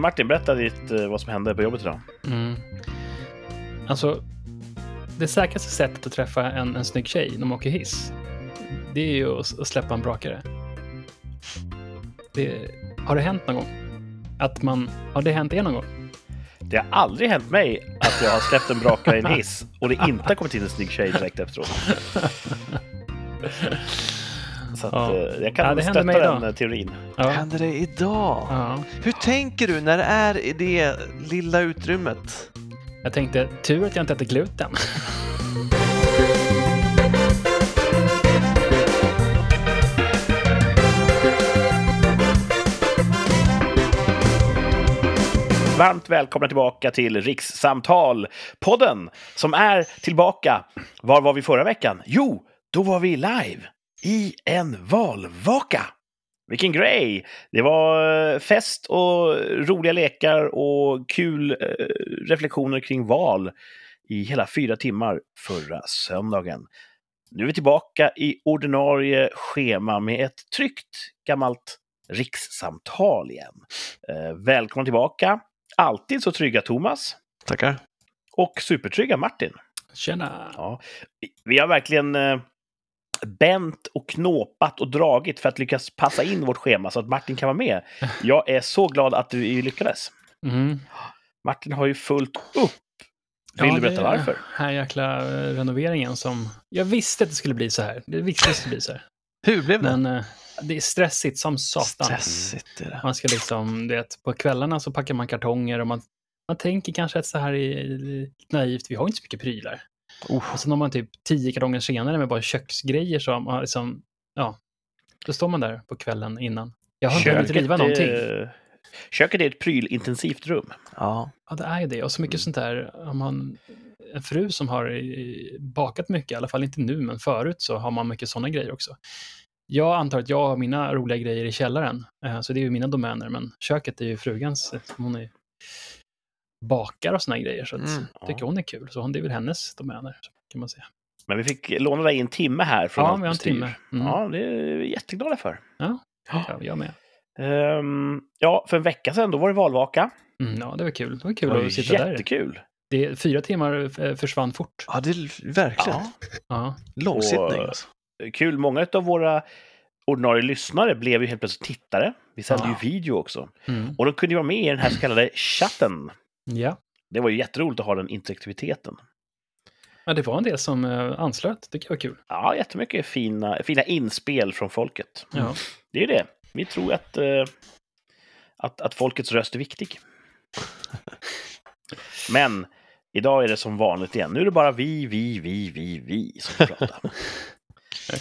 Martin, berätta ditt, eh, vad som hände på jobbet idag. Mm. Alltså, det säkraste sättet att träffa en, en snygg tjej när man åker hiss, det är ju att, att släppa en brakare. Det, har det hänt någon gång? Att man, har det hänt er någon gång? Det har aldrig hänt mig att jag har släppt en brakare i en hiss och det inte har kommit in en snygg tjej direkt efteråt. Så att, Ja. eh, jag kan Ja, det stötta hände mig den idag. eh, teorin. Ja. Händer det idag? ja. Hur tänker du när det är i det lilla utrymmet? Jag tänkte, tur att jag inte äter gluten. Varmt välkomna tillbaka till Rikssamtal, podden som är tillbaka. Var var vi förra veckan? Jo, då var vi live i en valvaka. Vilken grej! Det var eh, fest och roliga lekar och kul eh, reflektioner kring val i hela fyra timmar förra söndagen. Nu är vi tillbaka i ordinarie schema med ett tryggt gammalt rikssamtal igen. Eh, Välkomna tillbaka! alltid så trygga Thomas Tackar. och supertrygga Martin. Tjena! Ja. vi- Vi har verkligen eh, bänt och knåpat och dragit för att lyckas passa in vårt schema så att Martin kan vara med. Jag är så glad att vi lyckades. Mm. Martin har ju fullt upp. Vill Ja, du det berätta är varför? Den här jäkla eh, renoveringen som... Jag visste att det skulle bli så här. Det visste att det skulle bli så här. Hur blev det? Men eh, det är stressigt som satan. Stressigt är det. Man ska liksom, du vet, på kvällarna så packar man kartonger och man, man tänker kanske att så här är lite naivt, vi har inte så mycket prylar. Oh. Och sen har man typ tio kartonger senare med bara köksgrejer som, har liksom, ja, då står man där på kvällen innan. Jag har inte hunnit riva någonting. eh, köket är ett prylintensivt rum. Ja. Ja, det är ju det. Och Mm. så mycket sånt där, om man, en fru som har eh, bakat mycket, i alla fall inte nu, men förut så har man mycket sådana grejer också. Jag antar att jag har mina roliga grejer i källaren, eh, så det är ju mina domäner, men köket är ju frugans. eftersom Hon är bakar och såna grejer, så att, Mm, tycker hon är kul. Så hon, det är väl hennes domäner, så kan man säga. Men vi fick låna dig en timme här från Ja, allt vi har en bestyr. timme. Mm. Ja, det är vi jätteglada för. Ja. Ja. Ja, jag med. Ehm, ja, för en vecka sedan då var det valvaka. Mm, ja, det var kul. Det var Det kul var att ju sitta där. jättekul. Det, är- fyra timmar eh, försvann fort. ja, det är verkligen. Ja. Ja, Långsittning. Och- alltså. kul. Många av våra ordinarie lyssnare blev ju helt plötsligt tittare. Vi sände Ja. ju video också. mm. Och de kunde ju vara med i den här så kallade chatten. ja. Det var ju jätteroligt att ha den interaktiviteten. ja det var en del som eh, anslöt. Det kan vara kul. Ja, jättemycket fina, fina inspel från folket. Ja. Det är ju det. Vi tror att, eh, att, att folkets röst är viktig. Men idag är det som vanligt igen. Nu är det bara vi, vi, vi, vi, vi som får prata.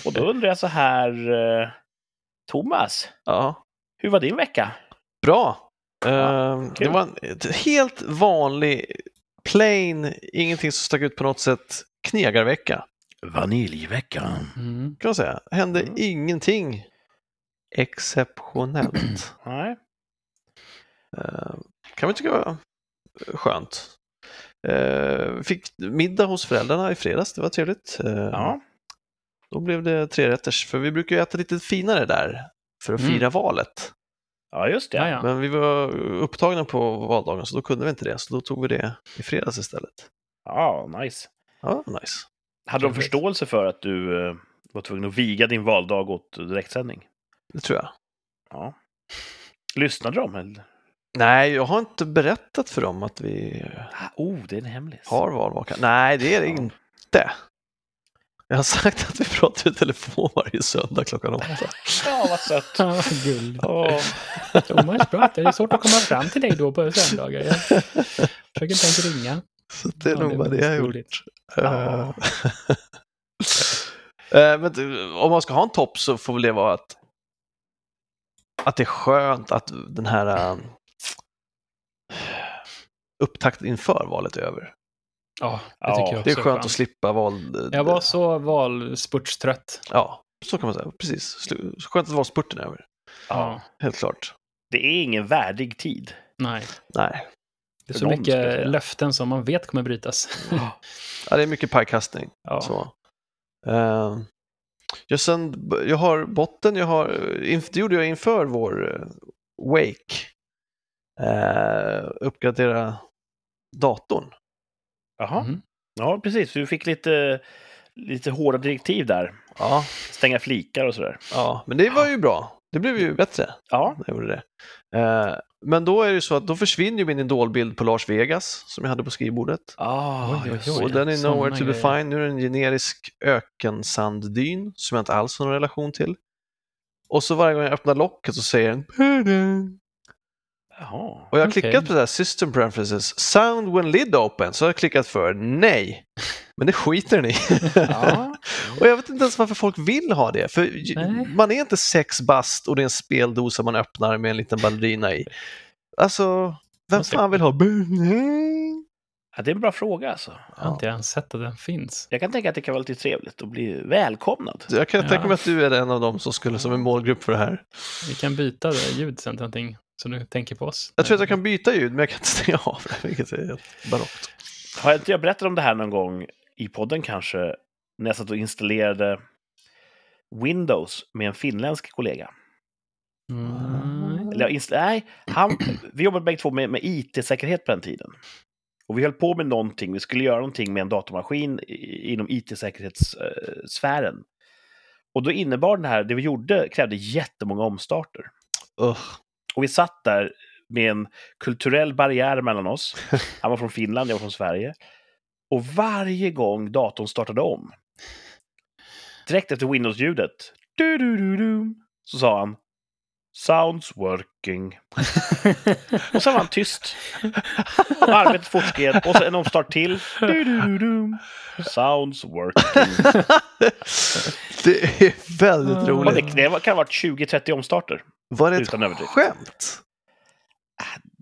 Och då undrar jag så här, eh, Thomas, Ja. hur var din vecka? Bra. Ehm, det kul. var en ett helt vanlig, plain, ingenting som stack ut på något sätt, knegarvecka. Vaniljveckan. Mm. Kan man säga. Hände Mm. ingenting exceptionellt. Nej. Eh, kan vi tycka var skönt. Eh, fick middag hos föräldrarna i fredags, det var trevligt. Eh, Ja. Då blev det trerätters, för vi brukar ju äta lite finare där för att Mm. fira valet. ja, just det. Ja, ja. Men vi var upptagna på valdagen så då kunde vi inte det, så då tog vi det i fredags istället. Ja, nice. Ja, nice. Hade de Trevligt. förståelse för att du eh, var tvungen att viga din valdag åt direktsändning? Det tror jag. Ja. Lyssnade de? Eller? Nej, jag har inte berättat för dem att vi Ah, Oh, det är en hemlis. har valvaka. Nej, det är det Ja. inte. Jag har sagt att vi pratar i telefon varje söndag klockan åtta. Ja, vad sött. Ja, guld. Åh, Thomas pratar. Det är svårt att komma fram till dig då på söndagar. Jag försöker inte ens ringa. Så det är Ja, nog bara det väldigt jag har gjort. roligt. Eh, Ja. eh, Men du, om man ska ha en topp så får väl det vara att, att det är skönt att den här eh, upptakten inför valet är över. Ja, det Ja, tycker jag också. Det är skönt att slippa val... Jag var så valspurtstrött. Ja, så kan man säga. Precis. Slu- Skönt att valspurten är över. Ja. Helt klart. det är ingen värdig tid. Nej, Nej, det är För så någon, skulle jag mycket säga. löften som man vet kommer brytas. ja, det är mycket pajkastning. Ja. Så. Eh, jag, sen, jag har botten, jag har, inf- det gjorde jag inför vår eh, Wake. eh, uppgradera datorn. Jaha. Mhm. Ja, precis. Du fick lite, lite hårda direktiv där. Ja, Stänga flikar och sådär. ja, men det var ju bra. Det blev ju bättre Ja, när jag gjorde det. Eh, men då är det ju så att då försvinner ju min idolbild på Lars Vegas som jag hade på skrivbordet. ah, Oj, oj, just oj. det. Och den är såna nowhere to be grejer. found. Nu är det en generisk ökensanddyn som jag inte alls har någon relation till. Och så varje gång jag öppnar locket så säger den "Pardon." Jaha. Och jag har Okej. klickat på det här System Preferences, Sound when lid open, så har jag klickat för nej. Men det skiter den i. Ja. och jag vet inte ens varför folk vill ha det. För ju- Nej. man är inte sex bast och det är en speldosa man öppnar med en liten ballerina i. Alltså, vem Man ska- fan vill ha nej? ja, det är en bra fråga alltså. Jag har inte ens sett att den finns. Jag kan tänka att det kan vara lite trevligt att bli välkomnad. Jag kan Ja. tänka mig att du är en av dem som skulle som en målgrupp för det här. Vi kan byta det ljud sen till någonting så du tänker på oss. Jag tror att jag kan byta ljud, men jag kan inte stänga av det, vilket är helt barockt. Har inte jag berättat om det här någon gång i podden kanske? När jag satt och installerade Windows med en finländsk kollega. Mm. Eller jag inst- nej, han, vi jobbade bägge två med, med IT-säkerhet på den tiden. Och vi höll på med någonting, vi skulle göra någonting med en datamaskin i, inom IT-säkerhetssfären. Och då innebar den här, det vi gjorde krävde jättemånga omstarter. Ugh. Och vi satt där med en kulturell barriär mellan oss. Han var från Finland, jag var från Sverige. Och varje gång datorn startade om, direkt efter Windows-ljudet, du-du-du-dum, så sa han Sounds working. och sen var han tyst. Och arbetet fortskred. Och sen en omstart till. Du-du-du-dum, Sounds working. Det är väldigt Och det, roligt. det kan ha varit 20-30 omstarter. Var det ett Utan överdrift. skämt?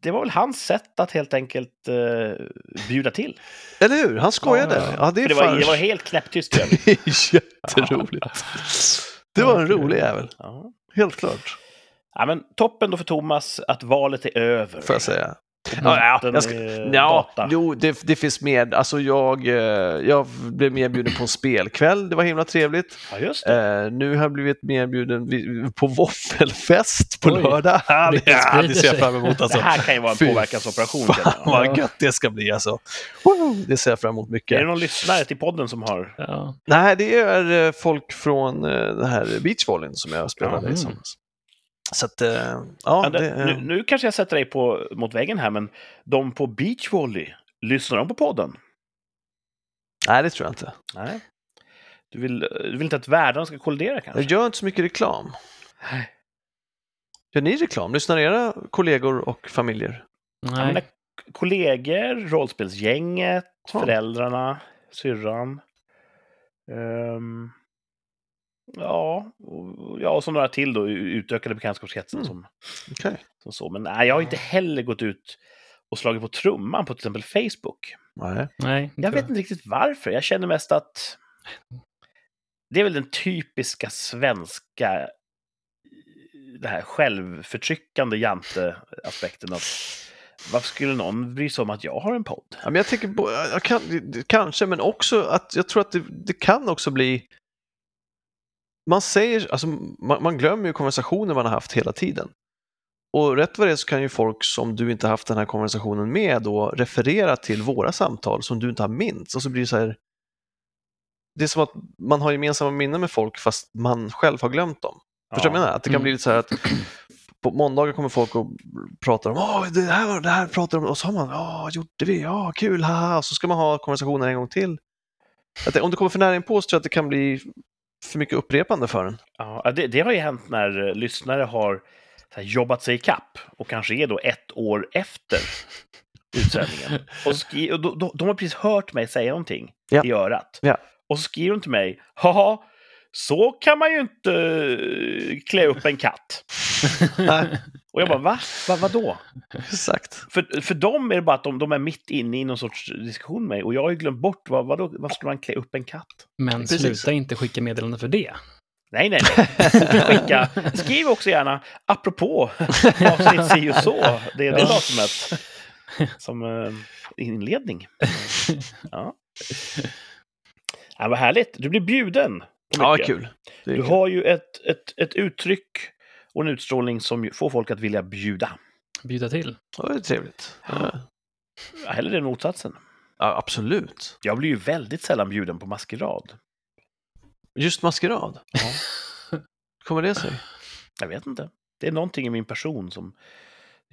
Det var väl hans sätt att helt enkelt eh, bjuda till. Eller hur? Han skojade. Ja. Ja, det För är det, var, det var fan helt knäpptyst. i övrigt. Det är jätteroligt. Det var en rolig jävel, Ja. helt klart. Ja, men toppen då för Thomas att valet är över. Får jag säga. Ja, ja, Den jag ska- är Ja, äh, data. jo, det, det finns mer. Alltså jag, eh, jag blev medbjuden på en spelkväll, det var himla trevligt. Ja, just det. Eh, nu har jag blivit medbjuden vid- på våffelfest på Oj. lördag. Ja, det, Det ja, det ser jag sprider fram emot alltså. det här kan ju vara en Fy påverkansoperation. Fan känner jag. vad gött det ska bli alltså. Woo! Det ser jag fram emot Är mycket. det någon lyssnare till podden som har... Ja. Nej, det är eh, folk från eh, den här beachvolleyn som jag spelade Ja, i mm. somras. Så att, eh, ja, Ja, det, det, nu, nu kanske jag sätter dig på, mot väggen här, men de på Beachvolley, lyssnar de på podden? nej, det tror jag inte. Nej. Du vill, du vill inte att världarna ska kollidera Jag kanske? gör inte så mycket reklam. Nej. Gör ni reklam? Lyssnar era kollegor och familjer? Ja, men Nej. det- kollegor, rollspelsgänget, Ja. föräldrarna, syrran. Ehm, ja, och, ja, och så några till då, u- utökade bekantskapskretsen. Mm. Som, Okej. som så. Men nej, jag har inte heller gått ut och slagit på trumman på till exempel Facebook. Nej. Nej. inte Jag vet inte riktigt varför. Jag känner mest att det är väl den typiska svenska eh, det här självförtryckande jante-aspekten. Att varför skulle någon bry sig om att jag har en podd? Ja, men jag tänker på, jag jag kan, det- det- kanske, men också att jag tror att det, det kan också bli... Man säger, alltså man, man glömmer ju konversationer man har haft hela tiden. Och rätt vad det är så kan ju folk som du inte haft den här konversationen med då referera till våra samtal som du inte har minns. Och så blir det så här... Det är som att man har gemensamma minnen med folk fast man själv har glömt dem. Förstår du vad jag menar? Att det kan Mm. bli lite så här att på måndagar kommer folk och pratar om Åh, det här, var- det här pratar de om och så har man ja, gjorde vi, ja, kul, haha, och så ska man ha konversationen en gång till. Att det, om du kommer för nära inpå så tror jag att det kan bli för mycket upprepande för en. Ja, det, det har ju hänt när eh, lyssnare har så här, jobbat sig i kapp och kanske är då ett år efter utsändningen. Och, skri- och då, då, de har precis hört mig säga någonting Ja. i örat. Ja. Och så skriver de till mig, haha, så kan man ju inte eh, klä upp en katt. Nej. Och jag bara, va? va vadå? Exakt. För, för dem är det bara att de, de är mitt inne i någon sorts diskussion med mig och jag har ju glömt bort, vad, vadå, varför skulle man klä upp en katt? Men Precis. sluta inte skicka meddelanden för det. Nej, nej, nej. Skicka. Skriv också gärna apropå avsnitt si och så. Det är det Ja. datumet. Som eh, inledning. Ja. ja. Vad härligt. Du blir bjuden. på Ja, mycket. kul. Det är Du kul. har ju ett, ett, ett uttryck och en utstrålning som ju får folk att vilja bjuda. bjuda till. Det var ju trevligt. Ja. Hellre än motsatsen. Ja, absolut. Jag blir ju väldigt sällan bjuden på maskerad. Just maskerad. Kommer det sig? Jag vet inte. Det är någonting i min person som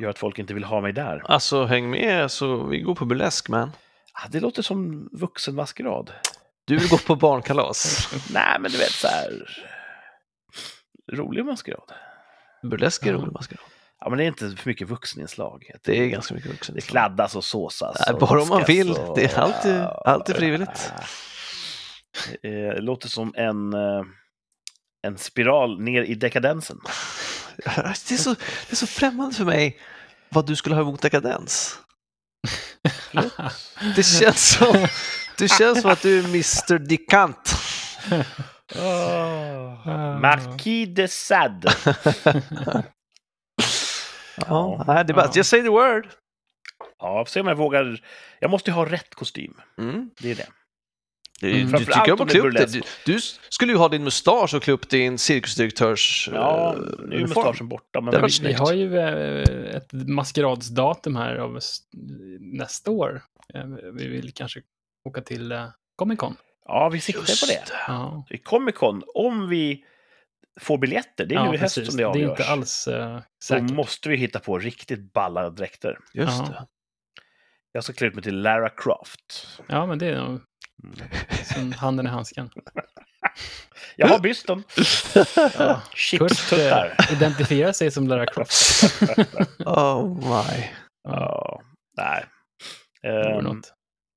gör att folk inte vill ha mig där. Alltså häng med så vi går på burlesk man. Ah, Det låter som vuxenmaskerad. Du vill gå på barnkalas. Nej, men du vet så här... Rolig maskerad. Burlesk är Ja. rolig maskerad. Ja, men det är inte för mycket vuxeninslag. Det är ganska mycket vuxen. Det kladdas och såsas. Nej, och bara om man ruskas vill. och- Det är alltid- Ja, allt är frivilligt. ja. Eh, Det låter som en, eh, en spiral ner i dekadensen. Det är, så, det är så främmande för mig vad du skulle ha emot dekadens. Det känns som, det känns som att du är Mr. Dikant. Ah. Marquis de Sade. Ja, nej, det är bara, Ja. just say the word. Ja, får se om jag vågar. Jag måste ju ha rätt kostym. Mm. Det är det. Du, Mm. du Framförallt tycker om om att det klä är upp dig. Du, du skulle ju ha din mustasch och klä upp din cirkusdirektörs Ja, eh, nu är uniform. mustaschen borta. Men Det var Vi, vi snyggt. har ju eh, ett maskeradsdatum här av s- nästa år. Eh, Vi vill kanske åka till eh, Comic Con. Ja, vi siktar på det. Just det. Ja, I Comic Con, om vi får biljetter, det är ja nu i höst som det Det är avgörs. inte alls eh, Då säkert. måste vi hitta på riktigt balla dräkter. Just Ja. det. Jag ska klä ut mig till Lara Croft. Ja, men det är nog som handen i handsken. Jag har bysten. Ja. Kurt eh, Chips-tuttar. identifierar sig som Lara Croft. Oh my. Ja, nej. Det vore Ehm, något.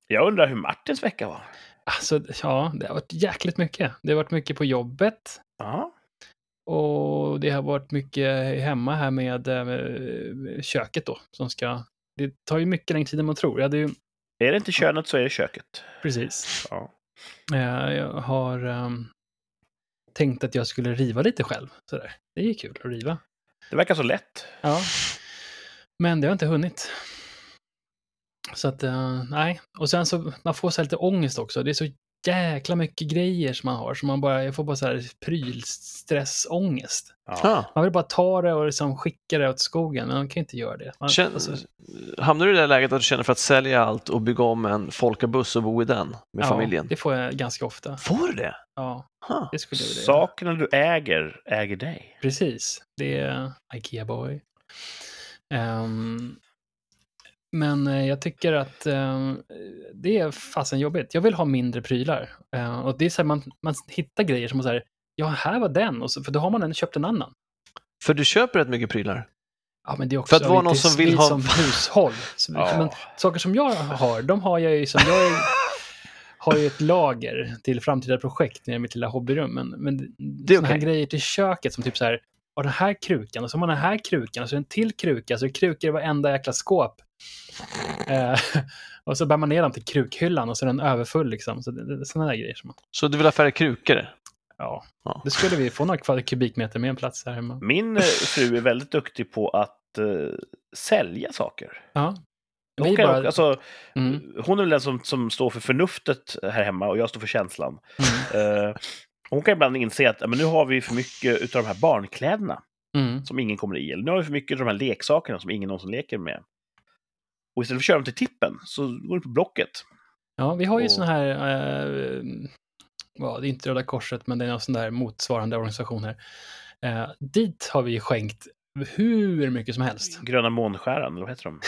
jag undrar hur Martins vecka var. Alltså, ja, det har varit jäkligt mycket. Det har varit mycket på jobbet. Ja, Och det har varit mycket hemma här med eh, köket då, som ska... Det tar ju mycket längre tid än man tror. Jag hade ju... är det inte könet så är det köket. Precis. Ja. Eh, Jag har ehm, tänkt att jag skulle riva lite själv. Sådär. Det är ju kul att riva. Det verkar så lätt. Ja. Men det har jag inte hunnit. Så att, eh, nej. Och sen så, man får så här lite ångest också. Det är så jäkla mycket grejer som man har. Så man bara, jag får bara så här prylstressångest. Ja. Ah. Man vill bara ta det och liksom skicka det åt skogen, men man kan inte göra det. Man, Känn, alltså, hamnar du i det där läget att du känner för att sälja allt och bygga om en folkabuss och bo i den med familjen? Ja, det får jag ganska ofta. Får du det? Ja, Huh. det skulle jag vilja göra. Sakerna du äger, äger dig. Precis, det är Ikea-boy. Ehm, men eh, jag tycker att ehm, det är fasen jobbigt. Jag vill ha mindre prylar. Eh, och det är så här, man, man hittar grejer som man säger, ja, här var den, och så, för då har man en, köpt en annan. För du köper rätt mycket prylar. Ja, men det är också För att vara lite någon som vill vi ha- som hushåll. Så, Ja. men, saker som jag har, de har jag ju som... Jag är, har ju ett lager till framtida projekt nere i mitt lilla hobbyrum. Men, men det är här okej. grejer till köket som typ så här, har den här krukan och så har man den här krukan och så är det en till kruka. Så det är krukor i varenda jäkla skåp. Eh, och så bär man ner dem till krukhyllan och så är den överfull liksom. Så det, det, sådana där grejer. Som man, Så du vill ha färre krukor? ja. Ja. Då skulle vi få några kvar- kubikmeter med en plats här hemma. Min eh, fru är väldigt duktig på att eh, sälja saker. Ja. Hon, Vi kan, bara, alltså, mm, hon är väl den som, som står för förnuftet här hemma och jag står för känslan. Mm. Eh, hon kan ibland inse att "Ja, men nu har vi för mycket av de här barnkläderna mm, som ingen kommer i. Eller nu har vi för mycket av de här leksakerna som ingen någonsin leker med. Och istället för att köra dem till tippen så går det på Blocket. ja, vi har ju Och- sån här... Eh, ja, det är inte Röda Korset, men det är någon sån där motsvarande organisation här. Eh, dit har vi skänkt hur mycket som helst. Gröna månskäran, eller vad heter de?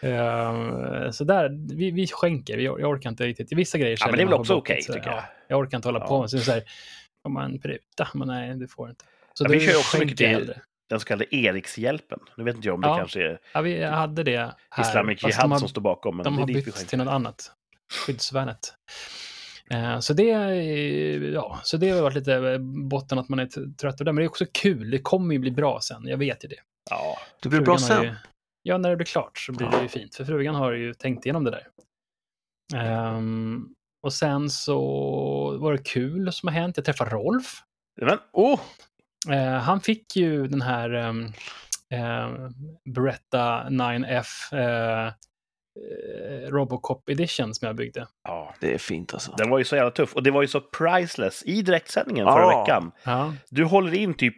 Eh, så där, vi, vi skänker, vi, jag orkar inte riktigt. Vissa grejer Ja, men säljer det är väl man på också Blocket, okej, så där. tycker jag. Ja, jag orkar inte hålla Ja. på med så det är så här, om man pruta, men nej, det får inte. Så Ja, vi då kör ju också mycket skänker jag till- hellre. Den så kallade Erikshjälpen. Nu vet inte jag om det Ja. kanske är Ja, vi hade det här. Islamic fast de Jihad har- som står bakom. Men De det har är dit vi bytt skänker. till något annat. Skyddsvärnet. Eh, Så det, eh, ja, så det har varit lite eh, botten att man är t- trött av det. Men det är också kul. Det kommer ju bli bra sen. Jag vet ju det. Ja, Det blir bra Frugan har sen. Ju, ja, när det blir klart så blir det ju fint. För frugan har ju tänkt igenom det där. Ehm, och sen så var det kul som har hänt. Jag träffade Rolf. men Åh, Eh, han fick ju den här ehm, eh, Beretta 9F eh, eh, Robocop Edition som jag byggde. ja. det är fint alltså. Den var ju så jävla tuff. Och det var ju så priceless i direktsändningen Ja. förra veckan. Ja, Du håller in typ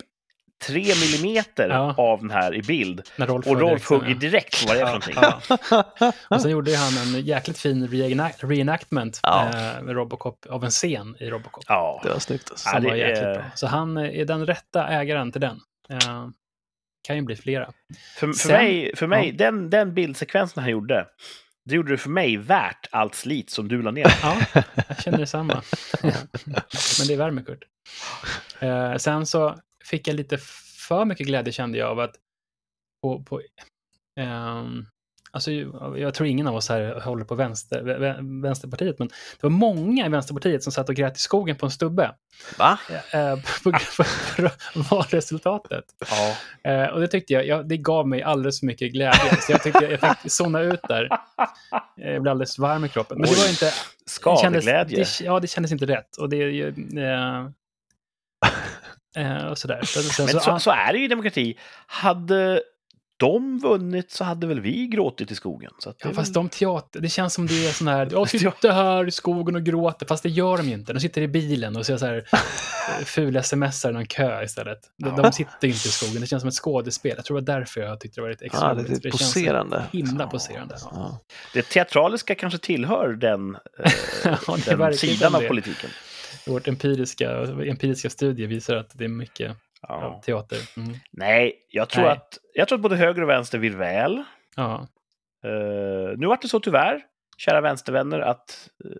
tre millimeter Ja. av den här i bild. När Rolf Och var Rolf direktsändning. hugger direkt vad det är för någonting. Ja. Och sen gjorde ju han en jäkligt fin reenact- reenactment Ja. eh, med Robocop, av en scen i Robocop. Ja. Det var snyggt alltså. Som Ja, det var jäkligt är- bra. Så han är den rätta ägaren till den. Eh, kan ju bli flera. För, för Sen- mig, för mig den, den bildsekvensen han gjorde, det gjorde det för mig värt allt slit som du la ner. Ja, jag känner detsamma. Men det värmer, Kurt. Eh, sen så fick jag lite för mycket glädje kände jag av att på, på ehm, Alltså, ju- jag tror ingen av oss här håller på vänster, vä- vä- Vänsterpartiet, men det var många i Vänsterpartiet som satt och grät i skogen på en stubbe Va? eh, på, på, på, valresultatet. Ja. Eh, och det tyckte jag, jag, det gav mig alldeles för mycket glädje, så jag tyckte jag fick zona ut där. Eh, Jag blev alldeles varm i kroppen. Men det var ju inte Skadeglädje. det, ja, det kändes inte rätt. Och det är ju... Eh, eh, och sådär. Sen, sen Men så, så, så är det ju i demokrati. Hade de vunnit så hade väl vi gråtit i skogen. Så att det ja, är fast väl- de teater, det känns som det är sån här, jag sitter här i skogen och gråter, fast det gör de ju inte. De sitter i bilen och ser så här eh, fula smsar i någon kö istället. De, Ja. de sitter ju inte i skogen, det känns som ett skådespel. Jag tror det var därför jag tyckte det var lite extra Ja, roligt. lite Det känns så poserande. Himla poserande. Ja. Ja. det teatraliska kanske tillhör den, eh, Ja, det verkar den ju sidan som av det. politiken. Vårt empiriska, empiriska studie visar att det är mycket Ja. ja. teater. Mm. Nej, jag tror, Nej. Att, jag tror att både höger och vänster vill väl. Ja. Eh, nu vart det så tyvärr, kära vänstervänner, att eh,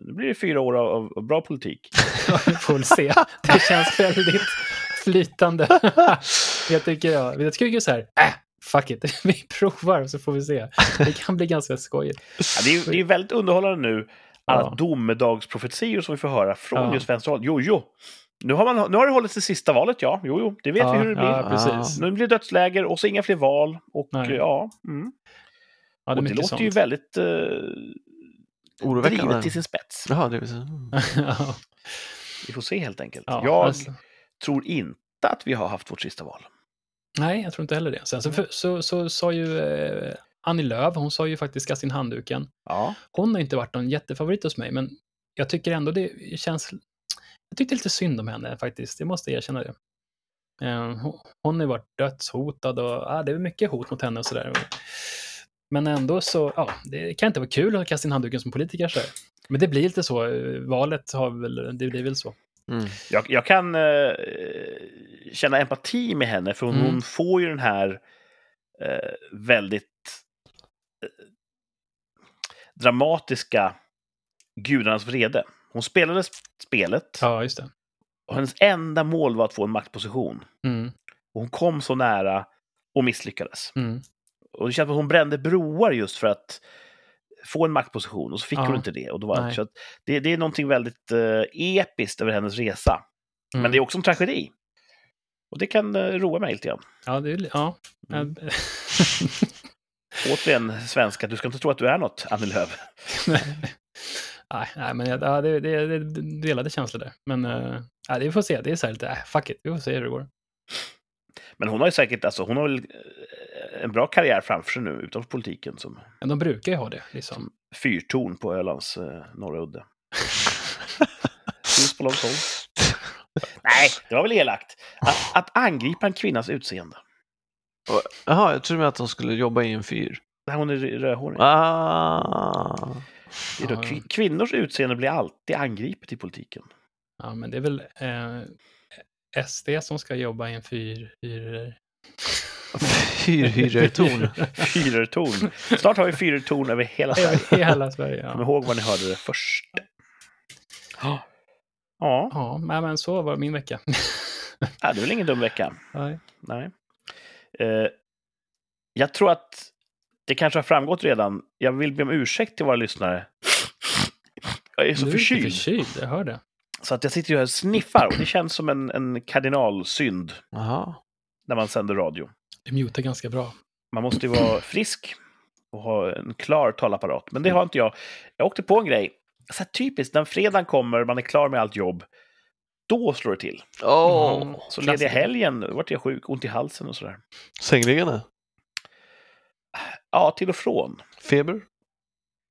nu blir det fyra år av, av- av bra politik. Ja, vi får väl se. Det känns väldigt flytande. jag tycker jag. Jag tycker så här, äh, fuck it, vi provar så får vi se. Det kan bli ganska skojigt. Ja, det, är, det är väldigt underhållande nu, alla Ja. domedagsprofetior som vi får höra från Ja. just vänsterhåll. Jo, jo, nu har, man, nu har det hållits det sista valet, ja. Jo, jo, det vet ja, vi hur det blir. Ja, precis. Nu blir det dödsläger och så inga fler val. Och Nej. ja, mm. Ja, det och är det låter mycket sånt. ju väldigt eh, Oroväckande. drivet till sin spets. Jaha, det är så. Mm. ja, Vi får se helt enkelt. ja, jag alltså. tror inte att vi har haft vårt sista val. Nej, jag tror inte heller det. Sen så, för, så, så sa ju eh, Annie Lööf, hon sa ju faktiskt kasta in handduken. Ja. Hon har inte varit någon jättefavorit hos mig, men jag tycker ändå det känns... Jag tyckte lite synd om henne faktiskt, jag måste erkänna det. Eh, hon- Hon har ju varit dödshotad och ah, det är mycket hot mot henne och sådär. Men ändå så, ja, det kan inte vara kul att kasta in handduken som politiker så här. Men det blir lite så, eh, valet har väl, det blir väl så. Mm. Jag, jag kan eh, känna empati med henne, för hon, Mm. hon får ju den här eh, väldigt eh, dramatiska gudarnas vrede. Hon spelade sp- spelet Ja, just det. och hennes enda mål var att få en maktposition. Mm, Och hon kom så nära och misslyckades. mm. Och det känns som att hon brände broar just för att få en maktposition och så fick Ja. hon inte det. Och då var Nej. så att det, det är någonting väldigt eh, episkt över hennes resa. Mm. Men det är också en tragedi. Och det kan eh, roa mig lite grann. Ja, det är, li- ja. Mm. Ja, Återigen, svenska, du ska inte tro att du är något, Annie Lööf. nej, nej, men jag- ja, det, det, det det delade känslor där. Men eh, ja, det vi får se. Det är så här lite, äh, fuck it, vi får se hur det går. Men hon har ju säkert, alltså hon har väl eh, en bra karriär framför sig nu utanför politiken som Men de brukar ju ha det, liksom. fyrtorn på Ölands eh, norra udde. Finns på Långsholm. Nej, det var väl elakt. Att, att angripa en kvinnas utseende. Jaha, jag trodde att de skulle jobba i en fyr. När hon är rö- rödhårig. Ah. Det är då kvi- Kvinnors utseende blir alltid angripet i politiken. Ja, men det är väl eh, SD som ska jobba i en fyr... fyr Fyr, hyrertorn. Fyrtorn. Snart har vi fyrtorn över hela Sverige. I hela Sverige. Kom Ja, ihåg var ni hörde det först. Ja, ja nej, men så var min vecka. ja, det är väl ingen dum vecka. Nej. Nej. Eh, jag tror att det kanske har framgått redan. Jag vill be om ursäkt till våra lyssnare. Jag är så Du är lite förkyld, förkyld, jag hör det. så att jag sitter ju här och sniffar. Och det känns som en, en kardinalsynd Jaha. när man sänder radio. Du mutar ganska bra. Man måste ju vara frisk och ha en klar talapparat. Men det har inte jag. Jag åkte på en grej. Så här typiskt, när fredagen kommer, man är klar med allt jobb. Då slår det till. Åh! Mm. Så lediga Klassiker. helgen då vart jag sjuk, ont i halsen och sådär. Sängliggande? Ja, till och från. Feber? Ah,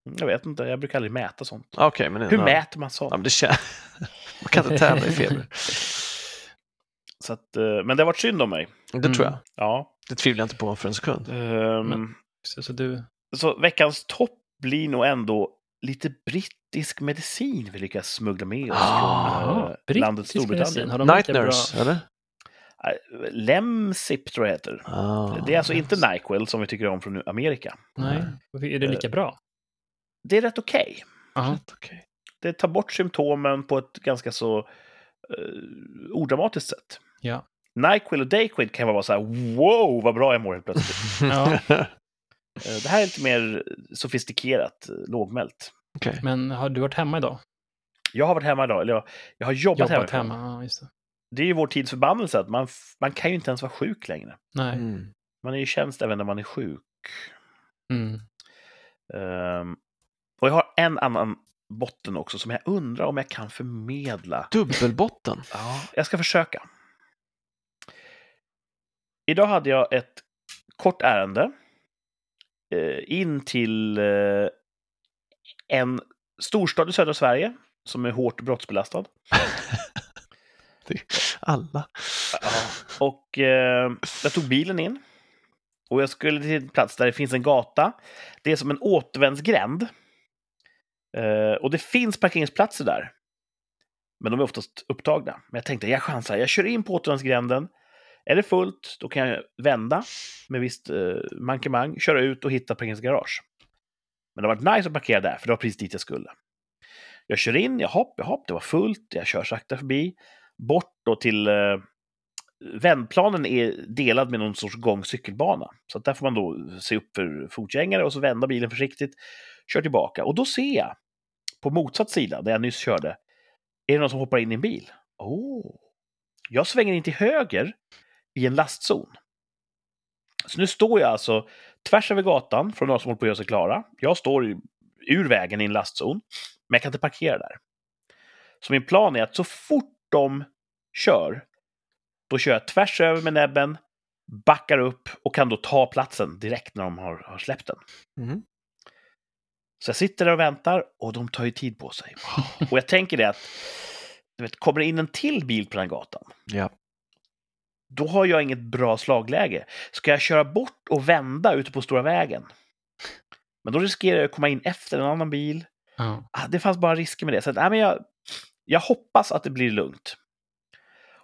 Mm, Jag vet inte, jag brukar aldrig mäta sånt. Okej, men... Hur ja. mäter man Ja, sånt? men det känns... Man kan inte tävla i feber. Så att, eh, men det har varit synd om mig. Det Mm. tror jag. Ja. Det tvivlar jag inte på för en sekund. Ehm, Men- Så, så du, Så veckans topp blir nog ändå lite brittisk medicin vi lyckas smuggla med oss från Jaha, eh, landet Ah, brittisk medicin, Storbritannien. har de Night lika bra- Nurse, eller? Eh, Lemsip tror jag det heter. Ah. Det är alltså inte Nyquil som vi tycker om från Amerika. Nej, Varför- är det lika bra? Det är rätt okej. Ja. Rätt okej. Det tar bort symptomen på ett ganska så eh, odramatiskt sätt. Ja. Nyquil och Dayquil kan vara så här wow vad bra jag mår helt plötsligt. Ja. Eh, det här är lite mer sofistikerat, eh, lågmält. Okej. Men har du varit hemma idag? Jag har varit hemma idag, eller jag, jag har jobbat, Jobbat hemma. hemma, ja just det. Det är ju vår tids förbannelse att man, f- man kan ju inte ens vara sjuk längre. Nej. Mm. Man är ju i tjänst även när man är sjuk. Mm. Ehm, och jag har en annan botten också som jag undrar om jag kan förmedla. Dubbelbotten. Ja, jag ska försöka. Idag hade jag ett kort ärende eh, in till eh, en storstad i södra Sverige som är hårt brottsbelastad. Alla. Och eh, jag tog bilen in. Och jag skulle till en plats där det finns en gata. Det är som en återvändsgränd. Eh, och det finns parkeringsplatser där. Men de är oftast upptagna. Men jag tänkte, jag chansar. Jag kör in på återvändsgränden. Är det fullt, då kan jag vända med visst eh, mankemang, köra ut och hitta parkeringsgarage. Men det har varit nice att parkera där, för det var precis dit jag skulle. Jag kör in, jag hopp, jag hopp, det var fullt, jag kör sakta förbi. Bort då till eh, vändplanen är delad med någon sorts gång cykelbana. Så att där får man då se upp för fotgängare och så vända bilen försiktigt, kör tillbaka. Och då ser jag, på motsatt sida, där jag nyss körde, är det någon som hoppar in i en bil. Oh. Jag svänger in till höger i en lastzon. Så nu står jag alltså tvärs över gatan från några som håller på att göra sig klara. Jag står i- ur vägen i en lastzon, men jag kan inte parkera där. Så min plan är att så fort de kör då kör jag tvärs över med näbben, backar upp och kan då ta platsen direkt när de har, har släppt den. Mm. Så jag sitter där och väntar och de tar ju tid på sig. Och jag tänker det att, du vet, kommer det in en till bil på den här gatan, Ja. då har jag inget bra slagläge. Ska jag köra bort och vända ute på stora vägen? Men då riskerar jag att komma in efter en annan bil Ja. ah, det fanns bara risker med det. Så att, nej, men jag, jag hoppas att det blir lugnt.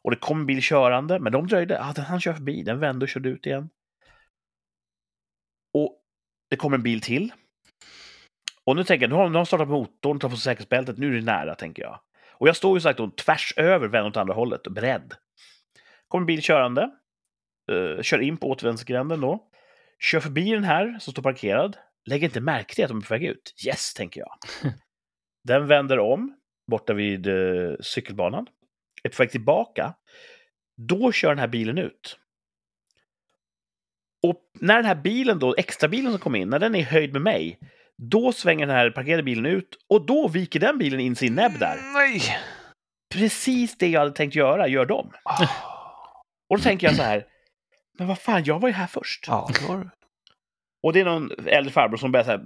Och det kom en bil körande, men de dröjde. Ah, den han kör förbi, den vände och körde ut igen. Och det kommer en bil till. Och nu tänker jag, nu har, nu har de startat motorn, tar på sig säkerhetsbältet, nu är det nära, tänker jag. Och jag står ju sagt då tvärs över, vänd åt andra hållet, och beredd. Kommer en bil körande. eh, kör in på återvändsgränden då. Kör förbi den här som står parkerad. Lägger inte märke till att de är på väg ut. Yes, tänker jag. Den vänder om borta vid eh, cykelbanan. Är på väg tillbaka. Då kör den här bilen ut. Och när den här bilen då, extrabilen som kom in, när den är i höjd med mig, då svänger den här parkerade bilen ut och då viker den bilen in sin näbb där. Nej! Precis det jag hade tänkt göra gör de. Ah. Och då tänker jag så här, men vad fan, jag var ju här först. Ja, det var det. Och det är någon äldre farbror som börjar så här,